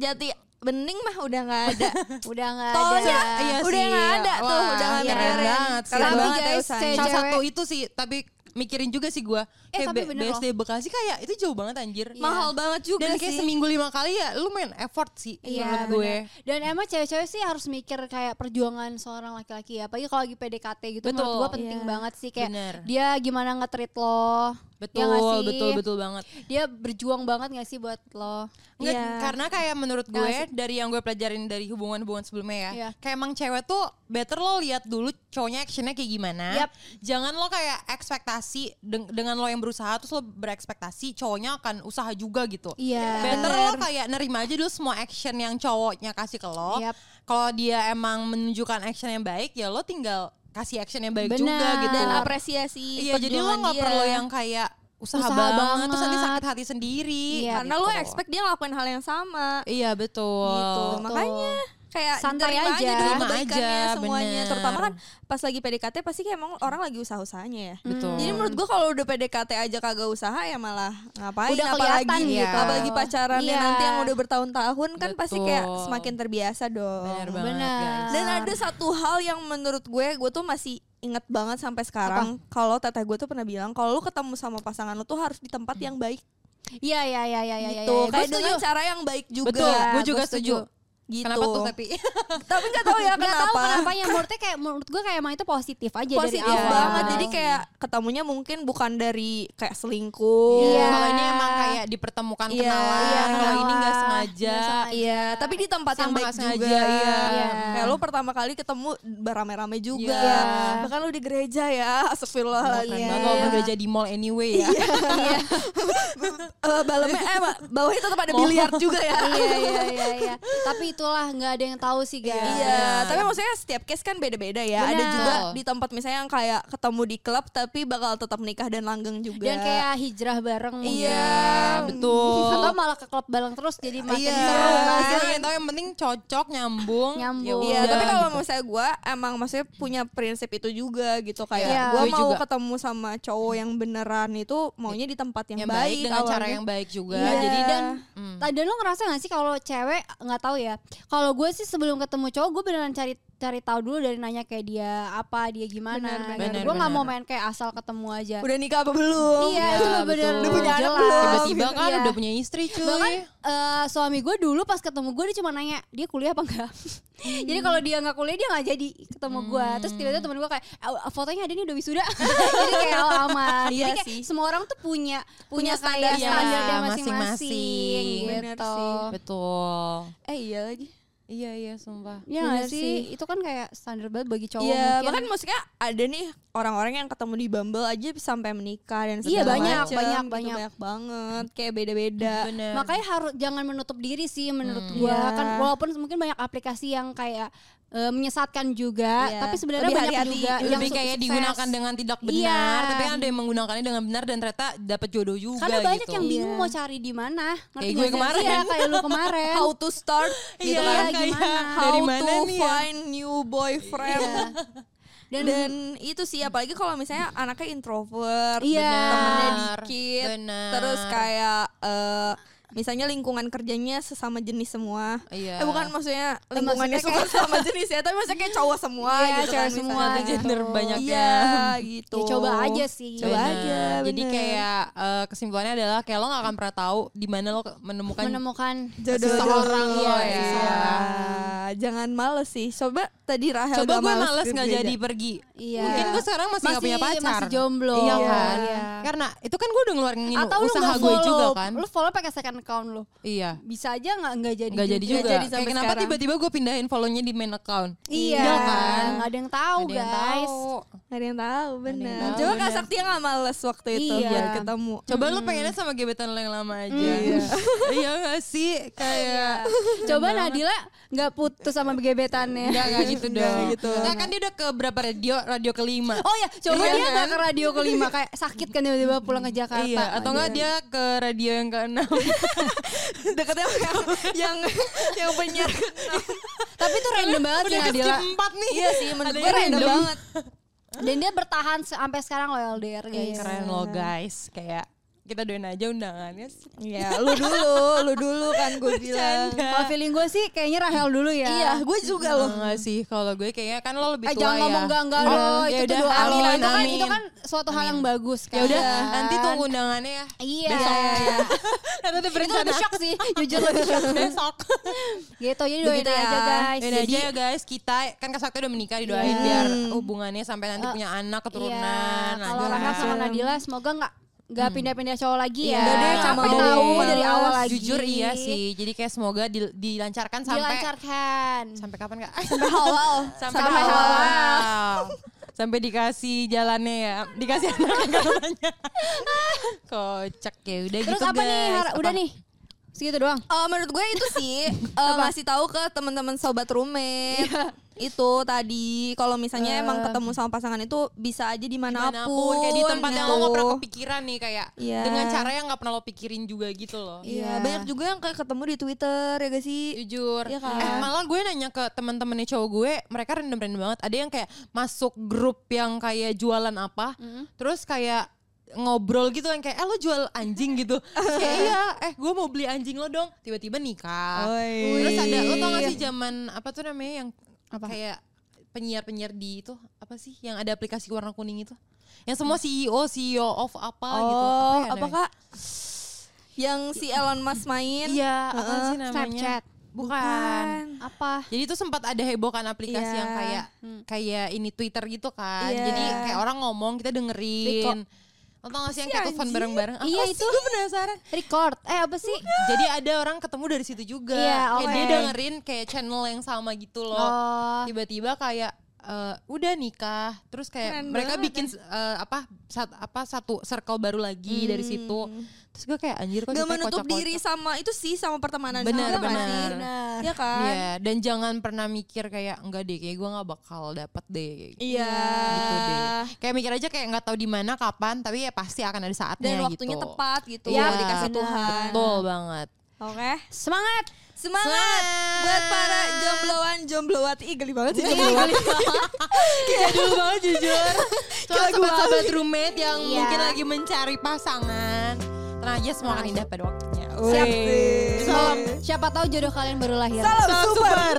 Speaker 5: Jati Bening mah udah gak ada.
Speaker 6: Udah nggak ada.
Speaker 5: Tolnya
Speaker 3: Iya
Speaker 5: udah
Speaker 3: sih.
Speaker 5: gak ada tuh,
Speaker 3: Wah,
Speaker 5: udah gak
Speaker 3: keren
Speaker 5: mikirin.
Speaker 3: banget sih.
Speaker 5: Keren
Speaker 6: Tapi
Speaker 5: banget ya
Speaker 6: guys,
Speaker 3: Salah
Speaker 5: usahanya.
Speaker 6: saya Eh, cewek.
Speaker 3: satu itu sih, tapi mikirin juga sih gue.
Speaker 6: Eh,
Speaker 3: Kayak
Speaker 6: tapi
Speaker 3: B-
Speaker 6: bener Iya.
Speaker 3: BSD Bekasi kayak itu jauh banget anjir.
Speaker 5: Mahal banget juga
Speaker 3: Dan kayak
Speaker 5: sih.
Speaker 3: seminggu lima kali ya, lu main effort sih menurut
Speaker 6: Iya
Speaker 3: gue.
Speaker 6: benar. Dan emang cewek-cewek sih harus mikir kayak perjuangan seorang laki-laki ya. Apalagi kalau lagi PDKT gitu menurut
Speaker 3: Betul.
Speaker 6: gue penting
Speaker 5: Iya.
Speaker 6: banget sih kayak
Speaker 3: Bener.
Speaker 6: dia gimana nge-treat lo.
Speaker 3: Betul,
Speaker 6: Ya nggak sih?
Speaker 3: betul, betul banget.
Speaker 6: Dia berjuang banget gak sih buat lo?
Speaker 3: Nggak,
Speaker 5: Iya.
Speaker 3: Karena kayak menurut gue
Speaker 6: Nggak
Speaker 3: dari yang gue pelajarin dari hubungan-hubungan sebelumnya ya,
Speaker 6: Iya.
Speaker 3: kayak emang cewek tuh better lo lihat dulu cowoknya actionnya kayak gimana.
Speaker 6: Yap.
Speaker 3: Jangan lo kayak ekspektasi deng- dengan lo yang berusaha terus lo berekspektasi cowoknya akan usaha juga gitu.
Speaker 6: Iya.
Speaker 3: Better lo kayak nerima aja dulu semua action yang cowoknya kasih ke lo.
Speaker 6: Yap.
Speaker 3: Kalau dia emang menunjukkan action yang baik ya lo tinggal kasih action yang baik
Speaker 6: Benar.
Speaker 3: juga gitu.
Speaker 5: Dan
Speaker 6: Benar.
Speaker 5: apresiasi
Speaker 3: Iya jadi lo
Speaker 5: perjuangan
Speaker 3: nggak
Speaker 5: dia.
Speaker 3: perlu yang kayak usaha,
Speaker 6: Usaha
Speaker 3: banget,
Speaker 6: banget.
Speaker 3: terus nanti sakit hati sendiri.
Speaker 6: Iya,
Speaker 5: Karena lu expect dia ngelakuin hal yang sama.
Speaker 3: Iya gitu. betul.
Speaker 5: gitu makanya kayak
Speaker 6: Santai
Speaker 5: diterima
Speaker 6: aja.
Speaker 5: dulu
Speaker 3: Terima
Speaker 5: kebaikannya
Speaker 3: aja,
Speaker 5: semuanya
Speaker 3: bener.
Speaker 5: terutama kan pas lagi PDKT pasti kayak emang orang lagi usaha-usahanya ya
Speaker 3: Betul.
Speaker 6: Hmm.
Speaker 5: jadi menurut gua kalau udah PDKT aja kagak usaha ya malah ngapain
Speaker 6: Udah
Speaker 5: apalagi
Speaker 6: kelihatan
Speaker 3: gitu.
Speaker 5: apalagi pacarannya
Speaker 6: Iya.
Speaker 5: nanti yang udah bertahun-tahun kan pasti kayak
Speaker 3: Betul.
Speaker 5: semakin terbiasa dong
Speaker 3: Benar banget
Speaker 6: Benar.
Speaker 3: guys.
Speaker 5: dan ada satu hal yang menurut gue gue tuh masih inget banget sampai sekarang kalau teteh gue tuh pernah bilang kalau lu ketemu sama pasangan lu tuh harus di tempat yang baik
Speaker 6: Iya iya iya iya iya.
Speaker 5: gitu
Speaker 6: iya. Gua
Speaker 5: kayak
Speaker 6: setuju.
Speaker 5: dengan cara yang baik juga
Speaker 3: Betul, gue
Speaker 5: Gua
Speaker 3: juga setuju.
Speaker 5: gitu
Speaker 3: Kenapa tuh tapi?
Speaker 5: tapi nggak tahu ya
Speaker 6: Nggak tahu
Speaker 5: kenapa
Speaker 6: kenapa yang menurutnya kayak menurut gue kayak emang itu positif aja
Speaker 5: positif
Speaker 6: dari awal.
Speaker 5: banget jadi kayak ketemunya mungkin bukan dari kayak selingkuh
Speaker 6: Iya.
Speaker 3: Kalau ini emang kayak dipertemukan
Speaker 5: Iya,
Speaker 3: kenalan,
Speaker 5: iya,
Speaker 3: kalau ini nggak
Speaker 6: kenalan.
Speaker 3: sengaja.
Speaker 6: Nggak sengaja.
Speaker 5: Iya, tapi di tempat yang
Speaker 3: Sama
Speaker 5: baik
Speaker 3: sengaja,
Speaker 5: juga.
Speaker 3: iya.
Speaker 6: Iya.
Speaker 5: Kayak lo pertama kali ketemu berame-rame juga.
Speaker 3: Iya.
Speaker 5: Bahkan lo di gereja ya,
Speaker 3: Keren
Speaker 5: astagfirullahaladzim.
Speaker 3: banget kalau bekerja di mall anyway ya.
Speaker 5: Eh, balemnya, eh, ba- bawahnya tetap ada biliar juga ya.
Speaker 6: iya iya iya iya. Tapi itulah nggak ada yang tahu sih guys.
Speaker 5: Iya, tapi maksudnya setiap case kan beda-beda ya. Ada
Speaker 6: Benar.
Speaker 5: juga di tempat misalnya yang kayak ketemu di klub tapi bakal tetap nikah dan langgeng juga.
Speaker 6: Dan kayak hijrah bareng mungkin.
Speaker 5: Iya, Oh.
Speaker 3: betul.
Speaker 6: Atau malah ke klub bareng terus jadi makin
Speaker 3: Iya.
Speaker 6: seru kan.
Speaker 3: Kita pengen tahu yang penting cocok, nyambung.
Speaker 6: Nyambung.
Speaker 3: Ya
Speaker 5: Iya,
Speaker 3: udah,
Speaker 5: tapi kalau
Speaker 3: gitu.
Speaker 5: misalnya gue emang maksudnya punya prinsip itu juga gitu kayak
Speaker 6: Iya.
Speaker 5: gue
Speaker 3: Gue
Speaker 5: mau
Speaker 3: juga.
Speaker 5: ketemu sama cowok yang beneran itu maunya di tempat yang,
Speaker 3: yang
Speaker 5: baik,
Speaker 3: baik dengan cara
Speaker 5: awalnya.
Speaker 3: yang baik juga.
Speaker 6: Iya.
Speaker 3: Jadi hmm. dan
Speaker 6: Tadi lo ngerasa gak sih kalau cewek nggak tahu ya? Kalau gue sih sebelum ketemu cowok gue beneran cari cari tahu dulu dari nanya kayak dia apa dia gimana.
Speaker 5: Benar, benar.
Speaker 6: gitu.
Speaker 3: Benar,
Speaker 6: Gue nggak
Speaker 3: benar.
Speaker 6: mau main kayak asal ketemu aja.
Speaker 5: udah nikah apa belum?
Speaker 6: iya,
Speaker 3: Iya,
Speaker 6: itu bener
Speaker 3: betul. Udah punya
Speaker 5: anak
Speaker 6: jelas.
Speaker 5: belum?
Speaker 3: tiba-tiba kan
Speaker 6: Iya.
Speaker 3: udah punya istri cuy.
Speaker 6: Bahkan eh, suami gue dulu pas ketemu gue dia cuma nanya dia kuliah apa enggak. jadi kalau dia nggak kuliah dia nggak jadi ketemu gue. Terus tiba-tiba temen gue kayak "Eh, fotonya ada nih udah wisuda. Hmm. jadi kayak oh, aman.
Speaker 5: Iya
Speaker 6: jadi kayak
Speaker 5: sih.
Speaker 6: semua orang tuh punya
Speaker 5: Punya
Speaker 6: punya standar
Speaker 3: standarnya
Speaker 6: standarnya
Speaker 3: masing-masing.
Speaker 6: masing-masing.
Speaker 5: Bener
Speaker 6: Gitu.
Speaker 5: sih.
Speaker 3: Betul.
Speaker 5: Eh iya lagi.
Speaker 3: Iya iya sumpah.
Speaker 6: Iya
Speaker 5: Bener
Speaker 6: nggak sih? Itu kan kayak standar banget bagi cowok
Speaker 5: Iya, bahkan
Speaker 6: mungkin.
Speaker 5: maksudnya ada nih orang-orang yang ketemu di Bumble aja sampai menikah dan segala
Speaker 6: Iya, banyak,
Speaker 5: macem,
Speaker 6: banyak,
Speaker 5: gitu,
Speaker 6: banyak.
Speaker 5: banget. Kayak beda-beda.
Speaker 3: Iya, Bener.
Speaker 6: Makanya harus jangan menutup diri sih menurut gua
Speaker 5: Iya.
Speaker 6: kan walaupun mungkin banyak aplikasi yang kayak eh, menyesatkan juga,
Speaker 5: Iya.
Speaker 6: tapi sebenarnya
Speaker 5: Lebih
Speaker 6: banyak
Speaker 5: hati-hati.
Speaker 6: juga yang
Speaker 3: Ya, lebih
Speaker 6: su-
Speaker 3: kayak
Speaker 6: sukses.
Speaker 3: digunakan dengan tidak benar,
Speaker 6: Iya.
Speaker 3: tapi kan ada yang menggunakannya dengan benar dan ternyata dapat jodoh juga
Speaker 6: Karena banyak
Speaker 3: gitu.
Speaker 6: yang bingung
Speaker 5: Iya.
Speaker 6: mau cari di mana.
Speaker 3: Kayak
Speaker 6: nggak
Speaker 3: gue
Speaker 6: sih?
Speaker 3: kemarin.
Speaker 6: Iya, kayak lu kemarin.
Speaker 5: How to start gitu
Speaker 3: Iya,
Speaker 5: kan.
Speaker 3: kayak
Speaker 6: gimana?
Speaker 5: How
Speaker 3: dari mana
Speaker 5: to
Speaker 3: nih ya?
Speaker 5: find new boyfriend.
Speaker 6: Iya.
Speaker 5: Dan, itu sih apalagi kalau misalnya anaknya introvert,
Speaker 6: Iya.
Speaker 5: temennya
Speaker 3: Benar,
Speaker 5: dikit,
Speaker 3: benar.
Speaker 5: terus kayak eh, misalnya lingkungan kerjanya sesama jenis semua
Speaker 3: Iya.
Speaker 5: eh bukan maksudnya
Speaker 6: Eh,
Speaker 5: lingkungannya
Speaker 6: maksudnya
Speaker 5: suka sama jenis ya tapi maksudnya kayak cowok semua
Speaker 6: Iya,
Speaker 5: gitu
Speaker 6: cowok
Speaker 5: kan
Speaker 6: semua
Speaker 5: misalnya.
Speaker 6: gitu.
Speaker 3: gender banyak
Speaker 5: iya
Speaker 3: ya.
Speaker 5: gitu
Speaker 6: Ya, coba aja sih.
Speaker 5: Coba
Speaker 3: Bener.
Speaker 5: aja,
Speaker 3: Jadi
Speaker 5: bener.
Speaker 3: kayak eh, kesimpulannya adalah kayak lo gak akan pernah tahu di mana lo ke- menemukan
Speaker 6: menemukan
Speaker 5: jodoh
Speaker 3: seseorang lo ya.
Speaker 5: iya. jangan males sih coba tadi Rahel
Speaker 3: Coba
Speaker 5: udah
Speaker 3: gue males nggak
Speaker 5: kerja.
Speaker 3: jadi pergi.
Speaker 6: Iya.
Speaker 3: Mungkin gue sekarang masih, nggak
Speaker 6: Masih-
Speaker 3: punya pacar.
Speaker 6: masih jomblo.
Speaker 3: Iya
Speaker 6: Iya.
Speaker 3: kan.
Speaker 6: Iya.
Speaker 3: Karena itu kan gue udah ngeluarin
Speaker 6: atau lu
Speaker 3: usaha
Speaker 6: nggak
Speaker 3: gue
Speaker 6: follow
Speaker 3: juga kan.
Speaker 6: lu follow pakai second account lu
Speaker 3: Iya.
Speaker 6: bisa aja nggak nggak jadi
Speaker 3: Nggak jadi juga.
Speaker 5: jadi sampai
Speaker 3: Kayak kenapa
Speaker 5: sekarang.
Speaker 3: tiba-tiba gue pindahin follow-nya di main account.
Speaker 6: iya
Speaker 3: Iya kan.
Speaker 6: nggak ada yang tahu
Speaker 3: Nggak ada yang
Speaker 6: guys
Speaker 3: tahu.
Speaker 5: Gak ada yang tahu bener
Speaker 3: tahu,
Speaker 5: Coba Kak
Speaker 3: bener.
Speaker 5: Sakti nggak males waktu itu
Speaker 6: Iya.
Speaker 5: biar ketemu
Speaker 3: Coba lu pengennya sama gebetan lo yang lama aja. Iya gak sih? Kayak
Speaker 6: coba
Speaker 3: Iya.
Speaker 6: Nadila nggak putus sama gebetannya
Speaker 3: Enggak, enggak gitu dong.
Speaker 5: Nggak
Speaker 3: Enggak,
Speaker 5: gitu.
Speaker 3: kan dia udah ke berapa radio? Radio kelima.
Speaker 6: oh ya coba
Speaker 3: Iya
Speaker 6: dia
Speaker 3: kan?
Speaker 6: nggak ke radio kelima kayak sakit kan tiba-tiba pulang ke Jakarta
Speaker 3: iya, atau enggak dia ke radio yang keenam.
Speaker 5: deketnya yang yang yang penyiar
Speaker 6: tapi itu random banget sih
Speaker 3: udah ke
Speaker 6: Nadila
Speaker 3: skip empat nih.
Speaker 5: iya sih menurut
Speaker 3: Ada
Speaker 5: gue
Speaker 3: yang
Speaker 5: random
Speaker 3: random.
Speaker 5: banget
Speaker 6: dan dia bertahan se- sampai sekarang loh LDR guys
Speaker 3: Keren lo guys, kayak kita doain aja undangannya.
Speaker 5: ya
Speaker 6: Iya,
Speaker 5: lu dulu lu dulu kan gue bilang
Speaker 6: kalau feeling gue sih kayaknya Rahel dulu ya
Speaker 5: iya gue juga loh
Speaker 3: Enggak sih, kalau gue kayaknya kan lo lebih
Speaker 6: Eh,
Speaker 3: tua
Speaker 6: jangan
Speaker 3: ya.
Speaker 6: ngomong enggak enggak
Speaker 3: Oh,
Speaker 6: loh,
Speaker 3: ya
Speaker 6: itu tuh
Speaker 3: udah,
Speaker 6: doa lo.
Speaker 3: amin,
Speaker 6: Itu kan
Speaker 3: amin.
Speaker 6: itu kan suatu hal yang bagus kan.
Speaker 3: Ya udah, nanti tunggu undangannya ya.
Speaker 6: Iya.
Speaker 3: Nanti ada
Speaker 6: Itu
Speaker 3: berencana.
Speaker 6: lebih shock sih, jujur lebih shock.
Speaker 3: Besok.
Speaker 6: Gitu, jadi doain
Speaker 5: Begitu ya.
Speaker 6: aja guys.
Speaker 3: Doain aja ya guys, kita kan Kak Sakti udah menikah didoain
Speaker 6: Iya.
Speaker 3: biar hubungannya sampai nanti punya anak keturunan.
Speaker 6: Iya, Eh, kalau
Speaker 3: lanjut
Speaker 6: Rahel
Speaker 3: kan.
Speaker 6: sama Nadila semoga nggak
Speaker 3: Hmm.
Speaker 6: nggak pindah-pindah cowok lagi
Speaker 3: Iya,
Speaker 6: ya.
Speaker 5: Nggak deh,
Speaker 6: Sampai
Speaker 5: nggak mau.
Speaker 6: tahu dari awal lagi.
Speaker 3: Jujur iya sih. Jadi kayak semoga dil- dilancarkan sampai
Speaker 6: Dilancarkan.
Speaker 3: sampai kapan kak?
Speaker 5: Sampai halal
Speaker 3: sampai
Speaker 6: Sampai
Speaker 3: halal.
Speaker 6: halal.
Speaker 3: sampai dikasih jalannya ya, dikasih anaknya katanya. Kocak ya udah
Speaker 6: Terus
Speaker 3: gitu
Speaker 6: apa nih?
Speaker 3: guys.
Speaker 6: Har- Udah
Speaker 3: Apa?
Speaker 6: nih. Segitu doang.
Speaker 5: Eh, menurut gue itu sih eh, ngasih tahu ke teman-teman sobat roommate
Speaker 3: Iya.
Speaker 5: itu tadi kalau misalnya emang ketemu sama pasangan itu bisa aja
Speaker 3: Eh. Dimanapun,
Speaker 5: dimanapun,
Speaker 3: kayak di tempat yang lo nggak pernah
Speaker 5: gitu.
Speaker 3: kepikiran nih kayak
Speaker 5: Iya.
Speaker 3: dengan cara yang nggak pernah lo pikirin juga gitu loh.
Speaker 5: Iya,
Speaker 6: Iya.
Speaker 5: banyak juga yang kayak ketemu di Twitter ya gak sih?
Speaker 3: jujur
Speaker 5: Iya kan?
Speaker 3: eh, malah gue nanya ke teman-temannya cowok gue mereka random random banget ada yang kayak masuk grup yang kayak jualan apa
Speaker 5: Mm-hmm.
Speaker 3: terus kayak ngobrol gitu kan kayak eh lo jual anjing gitu Terus kayak iya eh gue mau beli anjing lo dong tiba-tiba nikah
Speaker 5: Oi.
Speaker 3: terus ada lo tau gak sih zaman apa tuh namanya yang kayak penyiar-penyiar di itu apa sih yang ada aplikasi warna kuning itu yang semua E CEO CEO of apa gitu
Speaker 5: Oh,
Speaker 3: ya
Speaker 5: apa
Speaker 3: namanya?
Speaker 5: kak? Yang si Elon Musk main? Kan.
Speaker 3: iya apa sih namanya
Speaker 6: Snapchat.
Speaker 3: bukan.
Speaker 6: Apa?
Speaker 3: Jadi itu sempat ada heboh kan aplikasi
Speaker 5: Iya.
Speaker 3: yang kayak kayak ini Twitter gitu kan.
Speaker 5: Iya.
Speaker 3: Jadi kayak orang ngomong kita dengerin. Lo tau gak sih yang kayak telepon bareng-bareng? Apa
Speaker 6: Iya,
Speaker 3: sih?
Speaker 6: itu.
Speaker 3: Gue penasaran.
Speaker 6: Record. Eh apa sih?
Speaker 3: Jadi ada orang ketemu dari situ juga.
Speaker 6: Iya,
Speaker 3: Kayak
Speaker 6: oke.
Speaker 3: dia dengerin kayak channel yang sama gitu loh.
Speaker 6: Oh.
Speaker 3: Tiba-tiba kayak eh, udah nikah, terus kayak
Speaker 5: Keren
Speaker 3: mereka
Speaker 5: banget
Speaker 3: bikin eh, apa sat- apa satu circle baru lagi dari situ. Terus gue kayak anjir kok
Speaker 5: Gak
Speaker 3: ceritanya
Speaker 5: menutup
Speaker 3: kocak-kocak. gitu?"
Speaker 5: diri sama itu sih sama pertemanan
Speaker 3: Benar,
Speaker 5: juga Nah, nggak
Speaker 3: benar.
Speaker 5: sih? Iya kan?
Speaker 3: Iya, dan jangan pernah mikir kayak enggak deh, kayak gue nggak bakal dapet deh. Kayak gitu.
Speaker 5: Iya.
Speaker 3: gitu deh. Kayak mikir aja kayak nggak tahu di mana kapan, tapi ya pasti akan ada saatnya
Speaker 5: Dan
Speaker 3: gitu.
Speaker 5: waktunya tepat gitu
Speaker 3: Iya,
Speaker 5: dikasih
Speaker 3: benar.
Speaker 5: Tuhan.
Speaker 3: Betul banget.
Speaker 5: Oke.
Speaker 6: Semangat.
Speaker 5: Semangat,
Speaker 3: Semangat. Iya,
Speaker 5: buat para jombloan jomblowat Ih geli banget sih jombloan.
Speaker 3: Kayak dulu banget jujur. Soal
Speaker 5: Kayak gua.
Speaker 3: sahabat roommate yang
Speaker 6: Iya.
Speaker 3: mungkin lagi mencari pasangan. Tenang aja semua akan indah pada waktunya.
Speaker 5: Siap sih.
Speaker 6: Salam. Siapa tahu jodoh kalian baru lahir.
Speaker 5: Salam super.